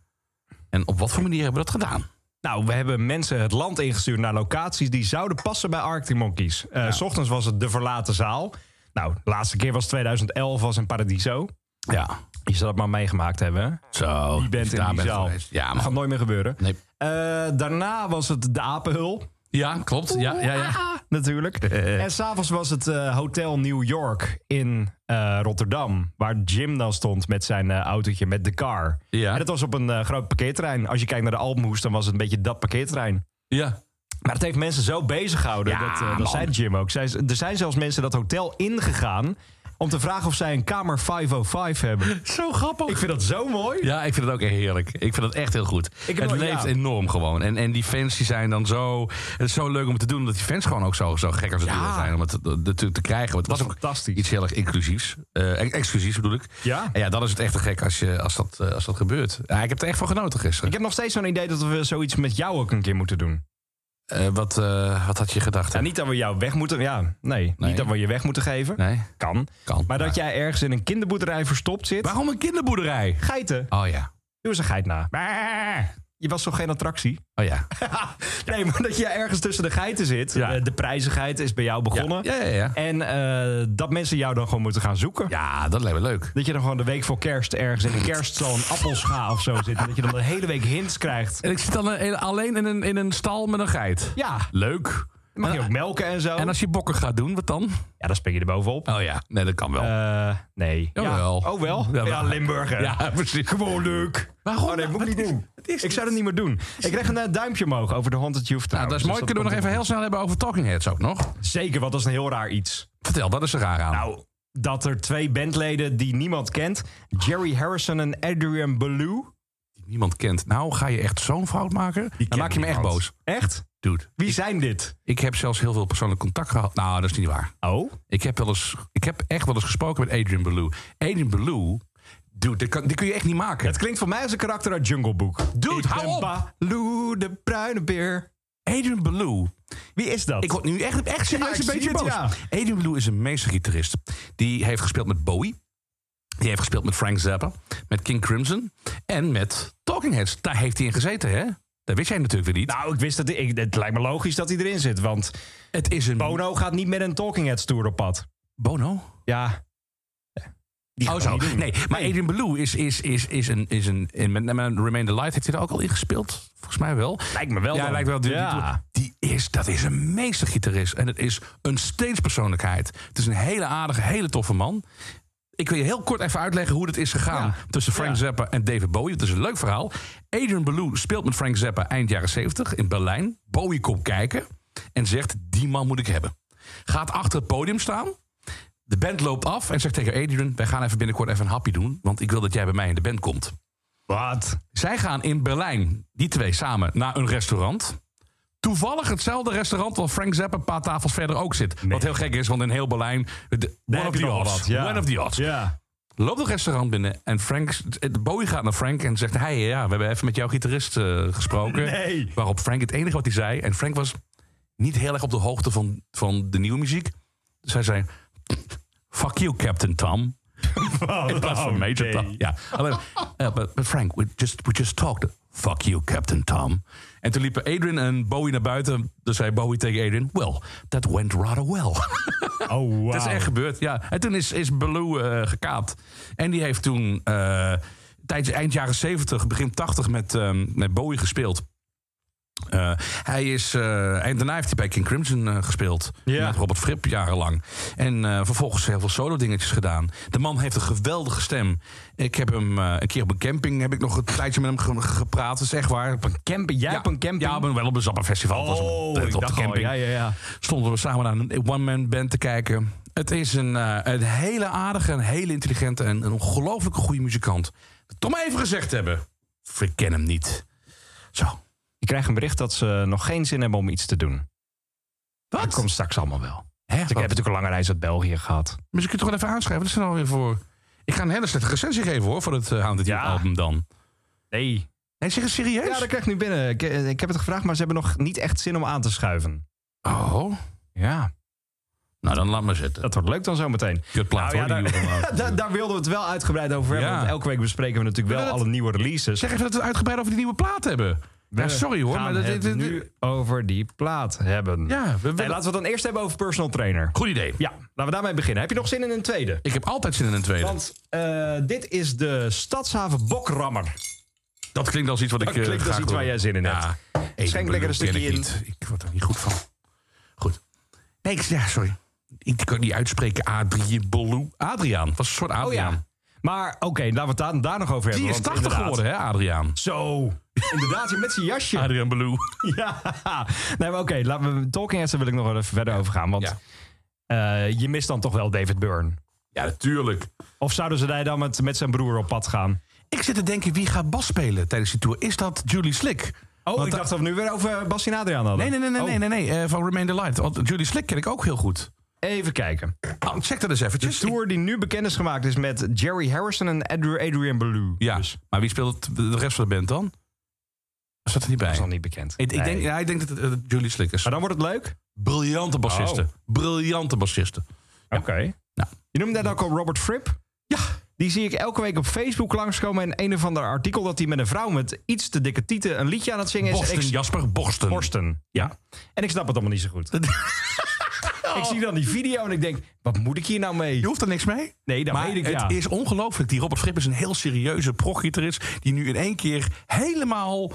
Speaker 2: En op wat voor manier hebben we dat gedaan?
Speaker 3: Nou, we hebben mensen het land ingestuurd naar locaties die zouden passen bij Arctic Monkeys. Eh, S ochtends was het de verlaten zaal. Nou, de laatste keer was 2011 was in Paradiso.
Speaker 2: Ja,
Speaker 3: Je zou dat maar meegemaakt hebben. hè?
Speaker 2: zo.
Speaker 3: Je bent
Speaker 2: dus
Speaker 3: in
Speaker 2: daar
Speaker 3: die
Speaker 2: ben ik
Speaker 3: zaal.
Speaker 2: geweest. Ja,
Speaker 3: Dat
Speaker 2: maar...
Speaker 3: gaat nooit meer gebeuren.
Speaker 2: Nee.
Speaker 3: Eh, daarna was het de Apenhul.
Speaker 2: ja klopt. Ja, ja, ja.
Speaker 3: Natuurlijk.
Speaker 2: Eh,
Speaker 3: En s'avonds was het eh, Hotel New York in eh, Rotterdam. Waar Jim dan stond met zijn eh, autootje, met de car.
Speaker 2: Ja.
Speaker 3: En dat was op een eh, groot parkeerterrein. Als je kijkt naar de Alpenhoes, dan was het een beetje dat parkeerterrein.
Speaker 2: ja.
Speaker 3: Maar het heeft mensen zo bezig gehouden.
Speaker 2: Ja,
Speaker 3: dat, eh,
Speaker 2: man.
Speaker 3: dat zei Jim ook. Zij, er zijn zelfs mensen dat hotel ingegaan. om te vragen of zij een kamer 505 hebben.
Speaker 2: Zo grappig.
Speaker 3: Ik vind dat zo mooi.
Speaker 2: Ja, ik vind het ook echt heerlijk. Ik vind het echt heel goed.
Speaker 3: heb
Speaker 2: het
Speaker 3: nooit-
Speaker 2: leeft
Speaker 3: ja.
Speaker 2: enorm gewoon. En, en die fans die zijn dan zo... Het is zo leuk om te doen, omdat die fans gewoon ook zo, zo gek als het
Speaker 3: Ja.
Speaker 2: willen zijn. Om het natuurlijk te krijgen.
Speaker 3: Dat
Speaker 2: Want het was
Speaker 3: is
Speaker 2: ook
Speaker 3: fantastisch.
Speaker 2: iets heel erg inclusiefs. Eh, ex- exclusiefs bedoel ik.
Speaker 3: Ja.
Speaker 2: En ja, dan is het echt te gek als, je, als, dat, eh, als dat gebeurt. Ja, ik heb er echt van genoten gisteren.
Speaker 3: Ik heb nog steeds zo'n idee dat we zoiets met jou ook een keer moeten doen.
Speaker 2: Eh, wat, eh, wat had je gedacht?
Speaker 3: Ja, niet dat we jou weg moeten. Ja, nee,
Speaker 2: Nee.
Speaker 3: Niet dat we je weg moeten geven.
Speaker 2: Nee?
Speaker 3: Kan.
Speaker 2: Kan.
Speaker 3: Maar dat
Speaker 2: Ja.
Speaker 3: jij ergens in een kinderboerderij verstopt zit.
Speaker 2: Waarom een kinderboerderij?
Speaker 3: Geiten.
Speaker 2: Oh ja.
Speaker 3: Doe eens een geit na. Je was toch geen attractie?
Speaker 2: Oh ja.
Speaker 3: Nee, maar dat je ergens tussen de geiten zit.
Speaker 2: Ja.
Speaker 3: Eh, De prijzigheid is bij jou begonnen.
Speaker 2: Ja, ja, ja. Ja,
Speaker 3: En eh, dat mensen jou dan gewoon moeten gaan zoeken.
Speaker 2: ja dat lijkt me leuk.
Speaker 3: Dat je dan gewoon de week voor kerst ergens in een kerststal een appelscha of zo zit. En dat je dan de hele week hints krijgt.
Speaker 2: En ik zit dan eh, alleen in een, in een stal met een geit.
Speaker 3: Ja,
Speaker 2: Leuk.
Speaker 3: dan mag je ook melken en zo.
Speaker 2: En als je bokken gaat doen, wat dan?
Speaker 3: Ja, dan spring je er bovenop.
Speaker 2: Oh ja, nee, dat kan wel.
Speaker 3: Eh, nee.
Speaker 2: Jawel.
Speaker 3: Ja. Oh wel?
Speaker 2: Ja,
Speaker 3: Ja,
Speaker 2: maar-
Speaker 3: Limburger.
Speaker 2: ja, precies.
Speaker 3: Gewoon leuk.
Speaker 2: Waarom?
Speaker 3: Oh nee, moet ik niet
Speaker 2: Wat is-
Speaker 3: doen.
Speaker 2: wat is
Speaker 3: Ik
Speaker 2: dit?
Speaker 3: zou dat niet meer doen. Ik kreeg een eh, duimpje omhoog over de Haunted Youth
Speaker 2: Nou, dat is mooi. Kunnen we nog even heel snel hebben over Talking Heads ook nog?
Speaker 3: Dus Zeker, want dat is een heel raar iets.
Speaker 2: Vertel, wat is er raar aan?
Speaker 3: Nou, dat er twee bandleden die niemand kent... Jerry Harrison en Adrian Belew...
Speaker 2: Die niemand kent. Nou, ga je echt zo'n fout maken? Dan maak je me echt boos.
Speaker 3: Echt?
Speaker 2: Dude,
Speaker 3: Wie zijn dit?
Speaker 2: ik heb zelfs heel veel persoonlijk contact gehad. Nou, dat is niet waar.
Speaker 3: Oh?
Speaker 2: Ik heb, wel eens, ik heb echt wel eens gesproken met Adrian Belew. Adrian Belew, dude, dit, kan, dit kun je echt niet maken.
Speaker 3: Het klinkt voor mij als een karakter uit Jungle Book.
Speaker 2: Dude,
Speaker 3: Ik
Speaker 2: hou
Speaker 3: ben
Speaker 2: op.
Speaker 3: Baloo, de bruine beer.
Speaker 2: Adrian Belew,
Speaker 3: Wie is dat?
Speaker 2: ik word nu echt, echt serieus
Speaker 3: ik
Speaker 2: een
Speaker 3: zie
Speaker 2: beetje
Speaker 3: het,
Speaker 2: boos.
Speaker 3: ja.
Speaker 2: Adrian Belew is een meestergitarist. Die heeft gespeeld met Bowie. Die heeft gespeeld met Frank Zappa. Met King Crimson. En met Talking Heads. Daar heeft hij in gezeten, hè? Dat wist jij natuurlijk weer niet.
Speaker 3: Nou, ik wist dat... Ik, het lijkt me logisch dat hij erin zit, want...
Speaker 2: het is een...
Speaker 3: Bono gaat niet met een Talking Heads tour op pad.
Speaker 2: Bono?
Speaker 3: Ja. Die
Speaker 2: Oh zo. Nee, maar Adrian Belew is, is, is, is een... Is een in, met, met Remain the Light heeft hij er ook al in gespeeld. Volgens mij wel.
Speaker 3: Lijkt me wel.
Speaker 2: ja,
Speaker 3: dan.
Speaker 2: lijkt wel. Die, die-
Speaker 3: Ja.
Speaker 2: die is, dat is een meestergitarist. En het is een steenspersoonlijkheid. Het is een hele aardige, hele toffe man. Ik wil je heel kort even uitleggen hoe het is gegaan...
Speaker 3: Ja.
Speaker 2: tussen Frank
Speaker 3: Ja.
Speaker 2: Zappa en David Bowie. Het is een leuk verhaal. Adrian Belew speelt met Frank Zappa eind jaren 70 in Berlijn. Bowie komt kijken en zegt, die man moet ik hebben. Gaat achter het podium staan. De band loopt af en zegt tegen Adrian... wij gaan even binnenkort even een hapje doen... want ik wil dat jij bij mij in de band komt.
Speaker 3: Wat?
Speaker 2: Zij gaan in Berlijn, die twee samen, naar een restaurant. Toevallig hetzelfde restaurant waar Frank Zappa een paar tafels verder ook zit. Wat heel gek is, want in heel Berlijn... de- one,
Speaker 3: heb
Speaker 2: of
Speaker 3: je
Speaker 2: the
Speaker 3: nog
Speaker 2: odds.
Speaker 3: wat, ja.
Speaker 2: one of the odds.
Speaker 3: Ja.
Speaker 2: Loopt het restaurant binnen en Frank, Bowie gaat naar Frank en zegt... Hey, ja, we hebben even met jouw gitarist eh, gesproken.
Speaker 3: Nee.
Speaker 2: Waarop Frank het enige wat hij zei... en Frank was niet heel erg op de hoogte van, van de nieuwe muziek. Dus hij zei... Fuck you, Captain Tom.
Speaker 3: Oh,
Speaker 2: In plaats van Major Tom. Ja. Alleen, ja, but, but Frank, we just, we just talked. Fuck you, Captain Tom. En toen liepen Adrian en Bowie naar buiten. Dus zei Bowie tegen Adrian... Well, that went rather well.
Speaker 3: Oh, wow.
Speaker 2: Dat is echt gebeurd, ja. En toen is, is Baloo eh, gekaapt. En die heeft toen eh, tijdens eind jaren 70, begin 80 met, ehm, met Bowie gespeeld. Eh, hij is, eh, en daarna heeft hij bij King Crimson eh, gespeeld.
Speaker 3: Ja.
Speaker 2: Met Robert Fripp jarenlang. En eh, vervolgens heel veel solo dingetjes gedaan. De man heeft een geweldige stem. Ik heb hem eh, een keer op een camping heb ik nog een tijdje met hem ge- gepraat. Dat is echt waar. Op een
Speaker 3: Camping, jij
Speaker 2: ja,
Speaker 3: op een camping?
Speaker 2: Ja, op een- wel op een Zappa-festival. was hem.
Speaker 3: oh,
Speaker 2: Dat
Speaker 3: ik
Speaker 2: op de
Speaker 3: dacht al,
Speaker 2: camping
Speaker 3: ja, ja, ja.
Speaker 2: stonden we samen naar een one-man band te kijken. Het is een, eh, een hele aardige, een hele intelligente en een ongelooflijk goede muzikant. Tom even gezegd hebben. Ik ken hem niet. Zo.
Speaker 3: Ik krijg een bericht dat ze nog geen zin hebben om iets te doen. Dat komt straks allemaal wel.
Speaker 2: Hè,
Speaker 3: Ik heb
Speaker 2: wat?
Speaker 3: natuurlijk een lange reis uit België gehad.
Speaker 2: Maar ze kunnen toch wel even aanschrijven. Dat is er nou weer voor. Ik ga een hele slechte recensie geven hoor voor het uh, Haunted
Speaker 3: Ja.
Speaker 2: Hill album dan.
Speaker 3: Nee.
Speaker 2: Nee, zeg eens serieus?
Speaker 3: Ja, dat krijg ik nu binnen. Ik, eh, ik heb het gevraagd, maar ze hebben nog niet echt zin om aan te schuiven.
Speaker 2: Oh.
Speaker 3: Ja.
Speaker 2: Nou, dan laat maar zitten.
Speaker 3: Dat wordt leuk dan zometeen.
Speaker 2: Kutplaat
Speaker 3: Nou ja,
Speaker 2: hoor. die
Speaker 3: daar-
Speaker 2: Euromaat.
Speaker 3: Daar, daar wilden we het wel uitgebreid over hebben.
Speaker 2: Ja.
Speaker 3: Want elke week bespreken we natuurlijk wel
Speaker 2: Willen we
Speaker 3: alle nieuwe releases.
Speaker 2: Zeg even dat we het uitgebreid over die nieuwe plaat hebben. Ja, sorry hoor.
Speaker 3: Gaan
Speaker 2: Maar dat,
Speaker 3: het
Speaker 2: dit- dit-
Speaker 3: nu over die plaat hebben.
Speaker 2: Ja, we,
Speaker 3: Hey, laten we het dan eerst hebben over personal trainer.
Speaker 2: Goed idee.
Speaker 3: Ja, laten we daarmee beginnen. Heb je nog zin in een tweede?
Speaker 2: Ik heb altijd zin in een tweede.
Speaker 3: Want eh, dit is de Stadshaven Bokrammer.
Speaker 2: Dat klinkt als iets wat ik. eh,
Speaker 3: klinkt als
Speaker 2: graag
Speaker 3: iets
Speaker 2: wil.
Speaker 3: waar jij zin in hebt.
Speaker 2: één
Speaker 3: Schenk lekker
Speaker 2: bedoel
Speaker 3: een stukje
Speaker 2: ken ik
Speaker 3: in.
Speaker 2: niet. Ik word er niet goed van. Goed. Nee, ik, ja, sorry. Ik kan het niet uitspreken. Adrien Bolou. Adriaan. Was een soort Adriaan.
Speaker 3: Maar oké, laten we het daar, daar nog over hebben.
Speaker 2: Die is
Speaker 3: Oh want
Speaker 2: 80
Speaker 3: inderdaad-
Speaker 2: geworden, hè, Adriaan?
Speaker 3: Zo. Inderdaad, met zijn jasje.
Speaker 2: Adriaan Bolou.
Speaker 3: Ja. Nee, maar oké, laten we Talking Heads, daar wil ik nog wel even verder over gaan. Want
Speaker 2: Ja.
Speaker 3: eh, je mist dan toch wel David Byrne.
Speaker 2: Ja, natuurlijk.
Speaker 3: Of zouden ze daar dan met, met zijn broer op pad gaan?
Speaker 2: Ik zit te denken, wie gaat bas spelen tijdens die tour? Is dat Julie Slick?
Speaker 3: Oh,
Speaker 2: Want
Speaker 3: ik
Speaker 2: da-
Speaker 3: dacht dat we nu weer over Bastien Adriaan hadden.
Speaker 2: Nee, nee, nee, nee,
Speaker 3: Oh,
Speaker 2: nee, nee, nee. eh, van Remain the Light. Want Julie Slick ken ik ook heel goed.
Speaker 3: Even kijken.
Speaker 2: Oh, check dat eens
Speaker 3: De
Speaker 2: eventjes.
Speaker 3: tour die nu bekend is gemaakt is met Jerry Harrison en Adri- Adrian Belew.
Speaker 2: Ja,
Speaker 3: Dus
Speaker 2: maar wie speelt het- de rest van de band dan? Zat er niet bij?
Speaker 3: dat is nog niet bekend.
Speaker 2: Ik, ik,
Speaker 3: Nee.
Speaker 2: denk, ja, ik denk dat het eh, Julie Slick is. Oh.
Speaker 3: Maar dan wordt het leuk.
Speaker 2: Briljante bassisten. Briljante bassisten.
Speaker 3: Oké. Nou. Je noemde net ook al Robert Fripp.
Speaker 2: Ja.
Speaker 3: Die zie ik elke week op Facebook langskomen. En een of ander artikel dat hij met een vrouw met iets te dikke tieten een liedje aan het zingen is. En
Speaker 2: Borsten,
Speaker 3: ik-
Speaker 2: Jasper Borsten.
Speaker 3: Borsten. Ja. En ik snap het allemaal niet zo goed. Ik zie dan die video en ik denk, wat moet ik hier nou mee?
Speaker 2: Je hoeft er niks mee.
Speaker 3: Nee, dat
Speaker 2: maar
Speaker 3: weet ik,
Speaker 2: het
Speaker 3: ja.
Speaker 2: is ongelooflijk. Die Robert Fripp is een heel serieuze proggitarist. Die nu in één keer helemaal...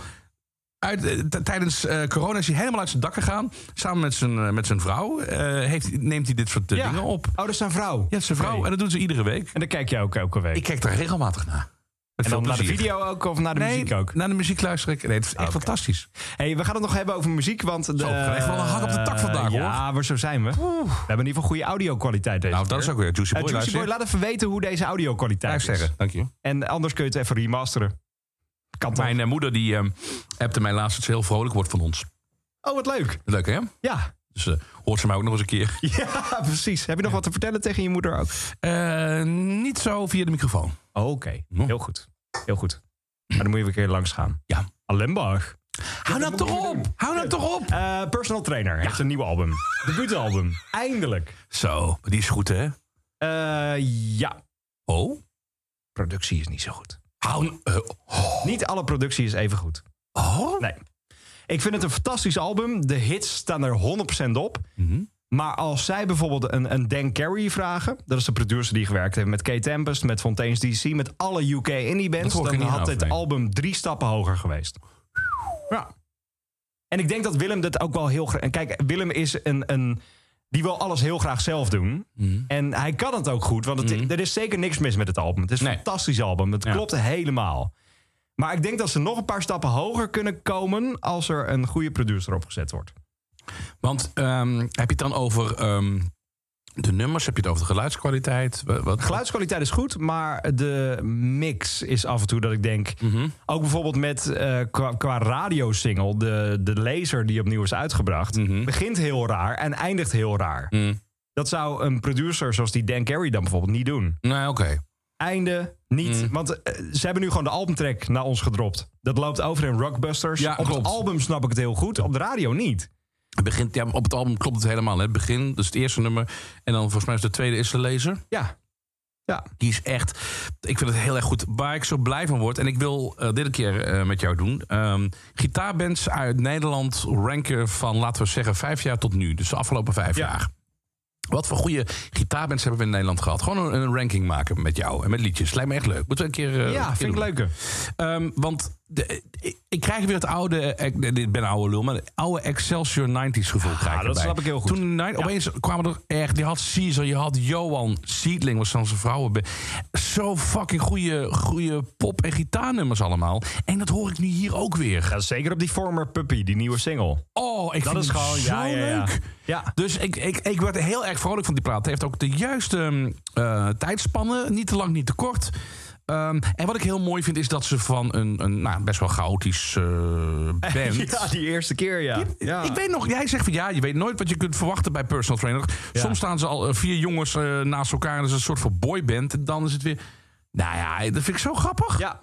Speaker 2: Uit, eh, t- tijdens eh, corona is hij helemaal uit zijn dak gegaan. Samen met zijn, eh, met zijn vrouw eh, heeft, neemt hij dit soort eh,
Speaker 3: Ja.
Speaker 2: dingen op.
Speaker 3: Oh, dat is zijn vrouw.
Speaker 2: Ja, zijn vrouw.
Speaker 3: Oké.
Speaker 2: En dat doen ze iedere week.
Speaker 3: En dan kijk jij ook elke week.
Speaker 2: Ik kijk daar regelmatig naar. Met
Speaker 3: en
Speaker 2: veel
Speaker 3: dan naar de
Speaker 2: plezier.
Speaker 3: video ook of naar de
Speaker 2: nee,
Speaker 3: muziek ook.
Speaker 2: naar de muziek luister ik. Nee, het is echt fantastisch.
Speaker 3: hey, we gaan het nog hebben over muziek, want... De, Eh,
Speaker 2: krijgen we wel een hak op de tak vandaag, hoor.
Speaker 3: Ja, maar zo zijn we. We hebben in ieder geval goede audio-kwaliteit deze
Speaker 2: Nou, dat
Speaker 3: keer.
Speaker 2: is ook weer Juicy
Speaker 3: Eh,
Speaker 2: Boy.
Speaker 3: Juicy
Speaker 2: luister.
Speaker 3: Boy, laat even weten hoe deze audio-kwaliteit is.
Speaker 2: Luisteren. Dank je.
Speaker 3: En anders kun je het even remasteren. Kan toch?
Speaker 2: Mijn eh, moeder die ehm appte mij laatst dat ze heel vrolijk wordt van ons.
Speaker 3: Oh, wat leuk.
Speaker 2: Leuk hè?
Speaker 3: Ja.
Speaker 2: Dus eh, hoort ze mij ook nog eens een keer.
Speaker 3: ja, precies. Heb je nog wat te vertellen tegen je moeder ook?
Speaker 2: Eh, niet zo via de microfoon.
Speaker 3: Oh, Oké,
Speaker 2: Ja.
Speaker 3: heel goed. Heel goed. Maar dan moet je weer een keer langs gaan.
Speaker 2: Ja.
Speaker 3: Allenbach.
Speaker 2: Hou nou toch op! Hou nou toch op!
Speaker 3: Eh, personal trainer heeft een nieuw album. Debuutalbum. Eindelijk.
Speaker 2: Zo, maar die is goed hè?
Speaker 3: Eh, ja.
Speaker 2: Oh?
Speaker 3: Productie is niet zo goed.
Speaker 2: Hou. eh, oh.
Speaker 3: Niet alle productie is even goed.
Speaker 2: oh?
Speaker 3: Nee. Ik vind het een fantastisch album. De hits staan er 100% op.
Speaker 2: Mhm.
Speaker 3: Maar als zij bijvoorbeeld een, een Dan Carey vragen... dat is de producer die gewerkt heeft met Kate Tempest... met Fontaine's DC, met alle UK indie bands...
Speaker 2: hoor ik
Speaker 3: dan
Speaker 2: er niet
Speaker 3: had
Speaker 2: over,
Speaker 3: dit
Speaker 2: nee.
Speaker 3: album drie stappen hoger geweest. Ja. En ik denk dat Willem dat ook wel heel graag... En kijk, Willem is een... een die wil alles heel graag zelf doen. En hij kan het ook goed, want het, er is zeker niks mis met het album. Het is een
Speaker 2: Nee.
Speaker 3: fantastisch album. Het klopt helemaal. Maar ik denk dat ze nog een paar stappen hoger kunnen komen... als er een goede producer opgezet wordt.
Speaker 2: Want ehm, heb je het dan over ehm, de nummers? Heb je het over de geluidskwaliteit? Wa- Wat,
Speaker 3: Geluidskwaliteit is goed, maar de mix is af en toe dat ik denk. Ook bijvoorbeeld met eh, qua, qua radiosingle, de, de laser die opnieuw is uitgebracht, begint heel raar en eindigt heel raar. Dat zou een producer zoals die Dan Carey dan bijvoorbeeld niet doen.
Speaker 2: Nee, oké.
Speaker 3: Einde niet. Want eh, ze hebben nu gewoon de albumtrack naar ons gedropt. Dat loopt over in Rockbusters.
Speaker 2: Ja,
Speaker 3: op
Speaker 2: klopt.
Speaker 3: het album snap ik het heel goed, op de radio niet.
Speaker 2: Het Begint, ja, op het album klopt het helemaal. Hè? Het begin, dus het eerste nummer. En dan volgens mij is de tweede is de laser.
Speaker 3: Ja. Ja.
Speaker 2: Die is echt. Ik vind het heel erg goed. Waar ik zo blij van word. En ik wil eh, dit een keer eh, met jou doen. ehm, gitaarbands uit Nederland ranken van, laten we zeggen, vijf jaar tot nu. Dus de afgelopen vijf
Speaker 3: Ja.
Speaker 2: jaar. Wat voor goede gitaarbands hebben we in Nederland gehad? Gewoon een, een ranking maken met jou en met liedjes. Lijkt me echt leuk. Moeten we een keer. eh, een
Speaker 3: ja,
Speaker 2: keer
Speaker 3: vind ik
Speaker 2: doen.
Speaker 3: leuker.
Speaker 2: Ehm, want de- ik- ik krijg weer het oude, eh, dit ben een oude lul, maar het oude Excelsior 90s gevoel krijg ik
Speaker 3: Ah, dat
Speaker 2: erbij.
Speaker 3: snap ik heel goed.
Speaker 2: Toen de nine- opeens kwamen er echt, die had Caesar, je had Johan, Seedling was dan zijn vrouwen. Zo fucking goede, goede pop- en gitaarnummers allemaal. En dat hoor ik nu hier ook weer.
Speaker 3: Ja, zeker op die former puppy, die nieuwe single.
Speaker 2: Oh, ik
Speaker 3: Dat
Speaker 2: vind
Speaker 3: is
Speaker 2: het
Speaker 3: gewoon
Speaker 2: zo
Speaker 3: ja, ja, ja.
Speaker 2: leuk.
Speaker 3: Ja.
Speaker 2: Dus ik, ik, ik werd heel erg vrolijk van die plaat. Het heeft ook de juiste ehm, eh, tijdspannen. Niet te lang, niet te kort. Ehm, en wat ik heel mooi vind, is dat ze van een, een nou, best wel chaotisch eh, band...
Speaker 3: Ja, die eerste keer, ja. ja.
Speaker 2: Ik weet nog, jij zegt van ja, je weet nooit wat je kunt verwachten bij personal trainer. Soms staan ze al eh, vier jongens eh, naast elkaar en dat is een soort van boyband. En dan is het weer, nou ja, dat vind ik zo grappig.
Speaker 3: Ja,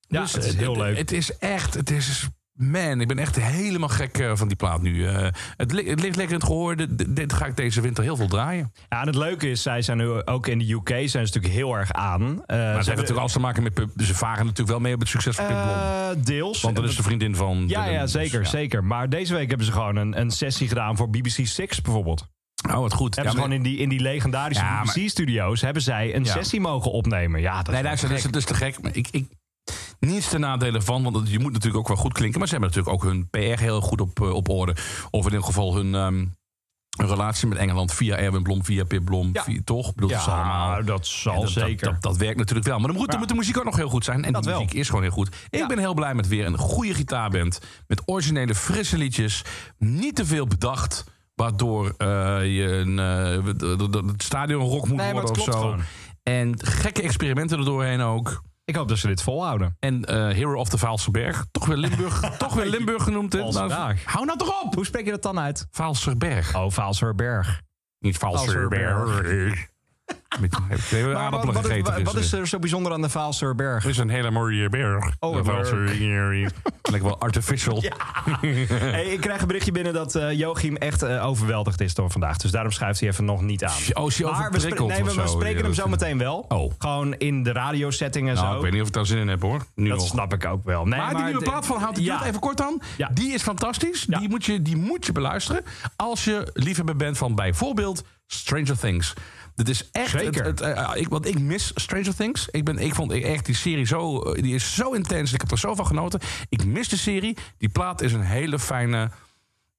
Speaker 3: ja
Speaker 2: Dus
Speaker 3: het is heel leuk.
Speaker 2: Het is echt, het is, man, ik ben echt helemaal gek eh, van die plaat nu. Eh, het, li- het ligt lekker in het gehoor, dit, dit- dit ga ik deze winter heel veel draaien.
Speaker 3: Ja, en het leuke is, zij zijn nu ook in de UK zijn ze natuurlijk heel erg aan. Eh, ze
Speaker 2: Maar ze hebben
Speaker 3: hebben-
Speaker 2: natuurlijk alles te maken met Pub. Ze varen natuurlijk wel mee op het succes van Pip Blom.
Speaker 3: Eh, deels.
Speaker 2: Want dat is de vriendin van...
Speaker 3: ja,
Speaker 2: Dylan,
Speaker 3: ja,
Speaker 2: dus
Speaker 3: zeker, zeker. Maar deze week hebben ze gewoon een, een sessie gedaan voor BBC Six bijvoorbeeld.
Speaker 2: Oh, wat goed.
Speaker 3: Hebben
Speaker 2: Ja,
Speaker 3: ze gewoon
Speaker 2: maar-
Speaker 3: in die, in die legendarische
Speaker 2: Ja, maar-
Speaker 3: BBC-studio's... hebben zij een
Speaker 2: Ja.
Speaker 3: sessie mogen opnemen. Ja, dat
Speaker 2: Nee,
Speaker 3: is
Speaker 2: luister, dat is, dat is te gek. Maar ik, ik, niets ten nadele van, want het- je moet natuurlijk ook wel goed klinken. Maar ze hebben natuurlijk ook hun PR heel goed op, eh, op orde. Of in ieder geval hun, ehm, hun relatie met Engeland via Erwin Blom, via Pip Blom.
Speaker 3: Ja.
Speaker 2: via- toch? Ik bedoel, dat is allemaal-
Speaker 3: Ja, dat zal
Speaker 2: en dat, dat-
Speaker 3: zeker.
Speaker 2: Dat, dat, werkt natuurlijk wel. Maar dan moet, dan
Speaker 3: Ja.
Speaker 2: moet de muziek ook nog heel goed zijn. En
Speaker 3: Dat
Speaker 2: die
Speaker 3: wel.
Speaker 2: muziek is gewoon heel goed. Ik
Speaker 3: Ja.
Speaker 2: ben heel blij met weer een goede gitaarband. Met originele, frisse liedjes. Niet te veel bedacht. Waardoor eh, je een, eh, d- d- d- het stadion rock moet
Speaker 3: Nee, maar
Speaker 2: worden
Speaker 3: het
Speaker 2: of zo.
Speaker 3: klopt gewoon.
Speaker 2: En gekke experimenten erdoorheen ook.
Speaker 3: Ik hoop dat ze dit volhouden.
Speaker 2: En eh, Hero of the Vaalse Berg. Toch weer Limburg, toch weer Limburg genoemd. hè?
Speaker 3: Vaalse Berg.
Speaker 2: hou nou toch op!
Speaker 3: Hoe spreek je dat dan uit?
Speaker 2: Vaalse Berg.
Speaker 3: Oh, Vaalserberg.
Speaker 2: Niet Vaalse
Speaker 3: Vaalse
Speaker 2: Berg. Met- heb ik weer
Speaker 3: Maar
Speaker 2: aardappelen
Speaker 3: wat, wat,
Speaker 2: gegeten
Speaker 3: wat, wat
Speaker 2: gisteren.
Speaker 3: is eh, er zo bijzonder aan de Vaalserberg?
Speaker 2: Het is een hele mooie berg.
Speaker 3: Oh, wat
Speaker 2: Dat was
Speaker 3: leuk.
Speaker 2: hier- Lijkt wel artificial.
Speaker 3: Hey, ik krijg een berichtje binnen dat eh Joachim echt eh, overweldigd is door vandaag. Dus daarom schuift hij even nog niet aan.
Speaker 2: Oh, is hij
Speaker 3: Maar we, spre-
Speaker 2: overprikkeld
Speaker 3: nee, we,
Speaker 2: of
Speaker 3: we
Speaker 2: zo,
Speaker 3: spreken hem zo
Speaker 2: Joachim?
Speaker 3: meteen wel.
Speaker 2: Oh.
Speaker 3: Gewoon in de radiosetting en
Speaker 2: Nou,
Speaker 3: zo.
Speaker 2: ik weet niet of ik daar zin in heb hoor. Nu
Speaker 3: dat
Speaker 2: nog.
Speaker 3: snap ik ook wel. Nee,
Speaker 2: Maar, die nieuwe
Speaker 3: de-
Speaker 2: plaat van Houd de
Speaker 3: ja.
Speaker 2: Doet, even kort dan.
Speaker 3: Ja.
Speaker 2: Die is fantastisch.
Speaker 3: Ja.
Speaker 2: Die, moet je, die moet je beluisteren. Als je liefhebber bent van bijvoorbeeld Stranger Things. Dit is echt. het-
Speaker 3: Zeker.
Speaker 2: Het, eh, ik, want ik mis Stranger Things. Ik, ben, ik vond echt die serie zo. eh, Die is zo intens. Ik heb er zo van genoten. Ik mis de serie. Die plaat is een hele fijne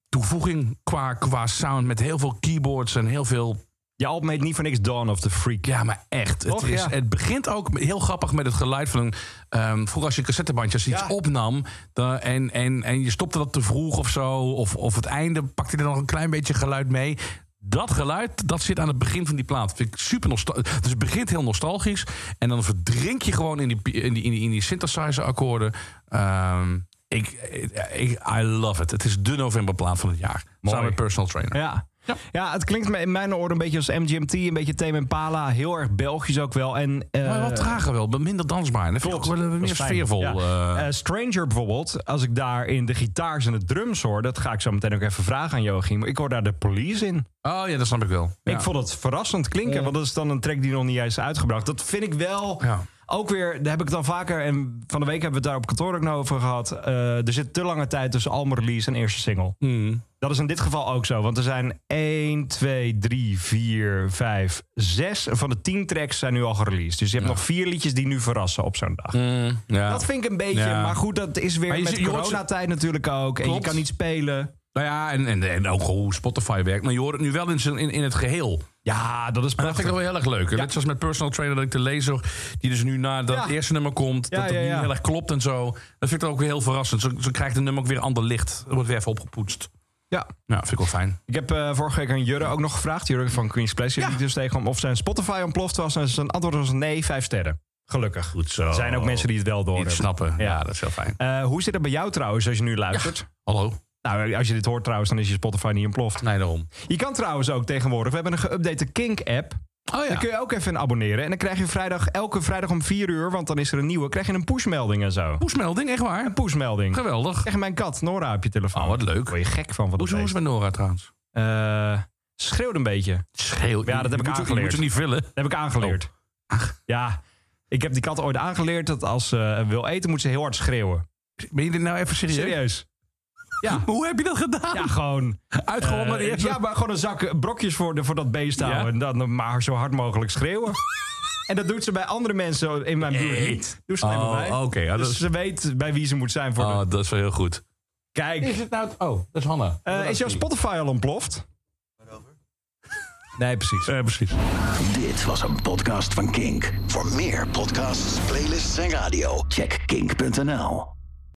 Speaker 2: toevoeging qua, qua sound. Met heel veel keyboards en heel veel
Speaker 3: Je album heet niet voor niks Dawn of the Freak.
Speaker 2: ja, maar echt. Het,
Speaker 3: Toch?
Speaker 2: is,
Speaker 3: Ja.
Speaker 2: het begint ook met- heel grappig met het geluid van een... ehm, vroeger als je een cassettebandje als je iets
Speaker 3: Ja.
Speaker 2: opnam... dan- en, en, en je stopte dat te vroeg of zo... of, of het einde pakte er nog een klein beetje geluid mee... Dat geluid, dat zit aan het begin van die plaat. Vind ik super nostalgisch. Dus het begint heel nostalgisch. En dan verdrink je gewoon in die, pi- in die, in die, in die synthesizer-akkoorden. Ehm, ik, ik, I love it. Het is de novemberplaat van het jaar. Samen met Personal Trainer.
Speaker 3: Ja.
Speaker 2: Ja.
Speaker 3: Ja. het klinkt me- in mijn oren een beetje als MGMT, een beetje Tame Impala, heel erg Belgisch ook wel. En, eh,
Speaker 2: Maar wat trager wel, minder dansbaar. Dat vind ik ook wel
Speaker 3: dat
Speaker 2: meer
Speaker 3: is fijn.
Speaker 2: sfeervol.
Speaker 3: Ja.
Speaker 2: eh.
Speaker 3: Eh, Stranger bijvoorbeeld, als ik daar in de gitaars en de drums hoor, dat ga ik zo meteen ook even vragen aan Joachim. Ik hoor daar de police in.
Speaker 2: Oh ja, dat snap ik wel.
Speaker 3: Ik vond het verrassend klinken, want dat is dan een track die nog niet eens is uitgebracht. Dat vind ik wel.
Speaker 2: Ja.
Speaker 3: Ook weer, daar heb ik het dan vaker, en van de week hebben we het daar op kantoor ook nog over gehad. eh, er zit te lange tijd tussen album-release en eerste single.
Speaker 2: Mm.
Speaker 3: Dat is in dit geval ook zo, want er zijn 1, 2, 3, 4, 5, 6 van de 10 tracks zijn nu al gereleased. Dus je hebt nog vier liedjes die nu verrassen op zo'n dag.
Speaker 2: ja.
Speaker 3: Dat vind ik een beetje,
Speaker 2: Ja.
Speaker 3: maar goed, dat is weer
Speaker 2: Maar je
Speaker 3: met
Speaker 2: ziet- je hoort ze-
Speaker 3: coronatijd natuurlijk ook. En je
Speaker 2: Klopt.
Speaker 3: kan niet spelen.
Speaker 2: Nou ja, en, en, en ook hoe Spotify werkt. Maar je hoort het nu wel in, zijn- in, in het geheel.
Speaker 3: Ja, dat is
Speaker 2: En dat vind
Speaker 3: prachtig.
Speaker 2: ik wel heel erg leuk. Net zoals met Personal Trainer dat ik de lezer... die dus nu na dat
Speaker 3: Ja.
Speaker 2: eerste nummer komt...
Speaker 3: Ja,
Speaker 2: dat het
Speaker 3: ja,
Speaker 2: nu
Speaker 3: ja.
Speaker 2: heel erg klopt en zo. Dat vind ik dan ook weer heel verrassend. Zo, zo krijgt de nummer ook weer ander licht. Het wordt weer even opgepoetst.
Speaker 3: Ja.
Speaker 2: Nou, vind ik wel fijn.
Speaker 3: Ik heb eh, vorige week aan Jurre ook nog gevraagd, Jurre van Queen's Pleasure, die dus tegenkwam of zijn Spotify ontploft was. En zijn antwoord was nee, vijf sterren. Gelukkig.
Speaker 2: Goed zo.
Speaker 3: Er zijn ook mensen die het wel door
Speaker 2: het
Speaker 3: hebben.
Speaker 2: snappen. Ja.
Speaker 3: Ja.
Speaker 2: dat is heel fijn.
Speaker 3: Eh, hoe zit het bij jou trouwens als je nu luistert?
Speaker 2: Hallo?
Speaker 3: Nou, als je dit hoort trouwens, dan is je Spotify niet ontploft.
Speaker 2: Nee, daarom.
Speaker 3: Je kan trouwens ook tegenwoordig, we hebben een geüpdate Kink-app.
Speaker 2: Oh
Speaker 3: Daar kun je ook even in abonneren. En dan krijg je vrijdag, elke vrijdag om 4 uur, want dan is er een nieuwe, krijg je een pushmelding en zo.
Speaker 2: Poesmelding, echt waar.
Speaker 3: Pushmelding.
Speaker 2: Geweldig.
Speaker 3: Krijg je mijn kat, Nora, op je telefoon.
Speaker 2: Oh, wat leuk.
Speaker 3: Daar word je gek van. Wat
Speaker 2: Hoe
Speaker 3: dat
Speaker 2: is het
Speaker 3: beest.
Speaker 2: met Nora trouwens?
Speaker 3: Eh, schreeuwt een beetje.
Speaker 2: Schreeuw.
Speaker 3: Ja, dat heb ik
Speaker 2: je moet, je moet
Speaker 3: aangeleerd.
Speaker 2: het niet vullen.
Speaker 3: Dat heb ik aangeleerd.
Speaker 2: Oh.
Speaker 3: Ja, ik heb die kat ooit aangeleerd dat als ze wil eten, moet ze heel hard schreeuwen.
Speaker 2: Ben je dit nou even serieus? Oh.
Speaker 3: Serieus. Ja,
Speaker 2: Hoe heb je dat gedaan?
Speaker 3: ja gewoon.
Speaker 2: Uitgewonnen.
Speaker 3: Eh, ja, maar gewoon een zak eh, brokjes voor, de, voor dat beest
Speaker 2: Ja.
Speaker 3: houden. En dan maar zo hard mogelijk schreeuwen. En dat doet ze bij andere mensen in mijn buurt
Speaker 2: Nee.
Speaker 3: niet. Doe ze alleen
Speaker 2: Oh,
Speaker 3: maar bij.
Speaker 2: oké. Ja,
Speaker 3: dus
Speaker 2: dat is-
Speaker 3: ze weet bij wie ze moet zijn voor de...
Speaker 2: Oh, dat is wel heel goed.
Speaker 3: Kijk,
Speaker 2: het nou... Oh, dat is Hanna.
Speaker 3: eh, is jouw Spotify al ontploft? Nee, precies.
Speaker 2: Eh, precies.
Speaker 1: Dit was een podcast van Kink. Voor meer podcasts, playlists en radio, check kink.nl.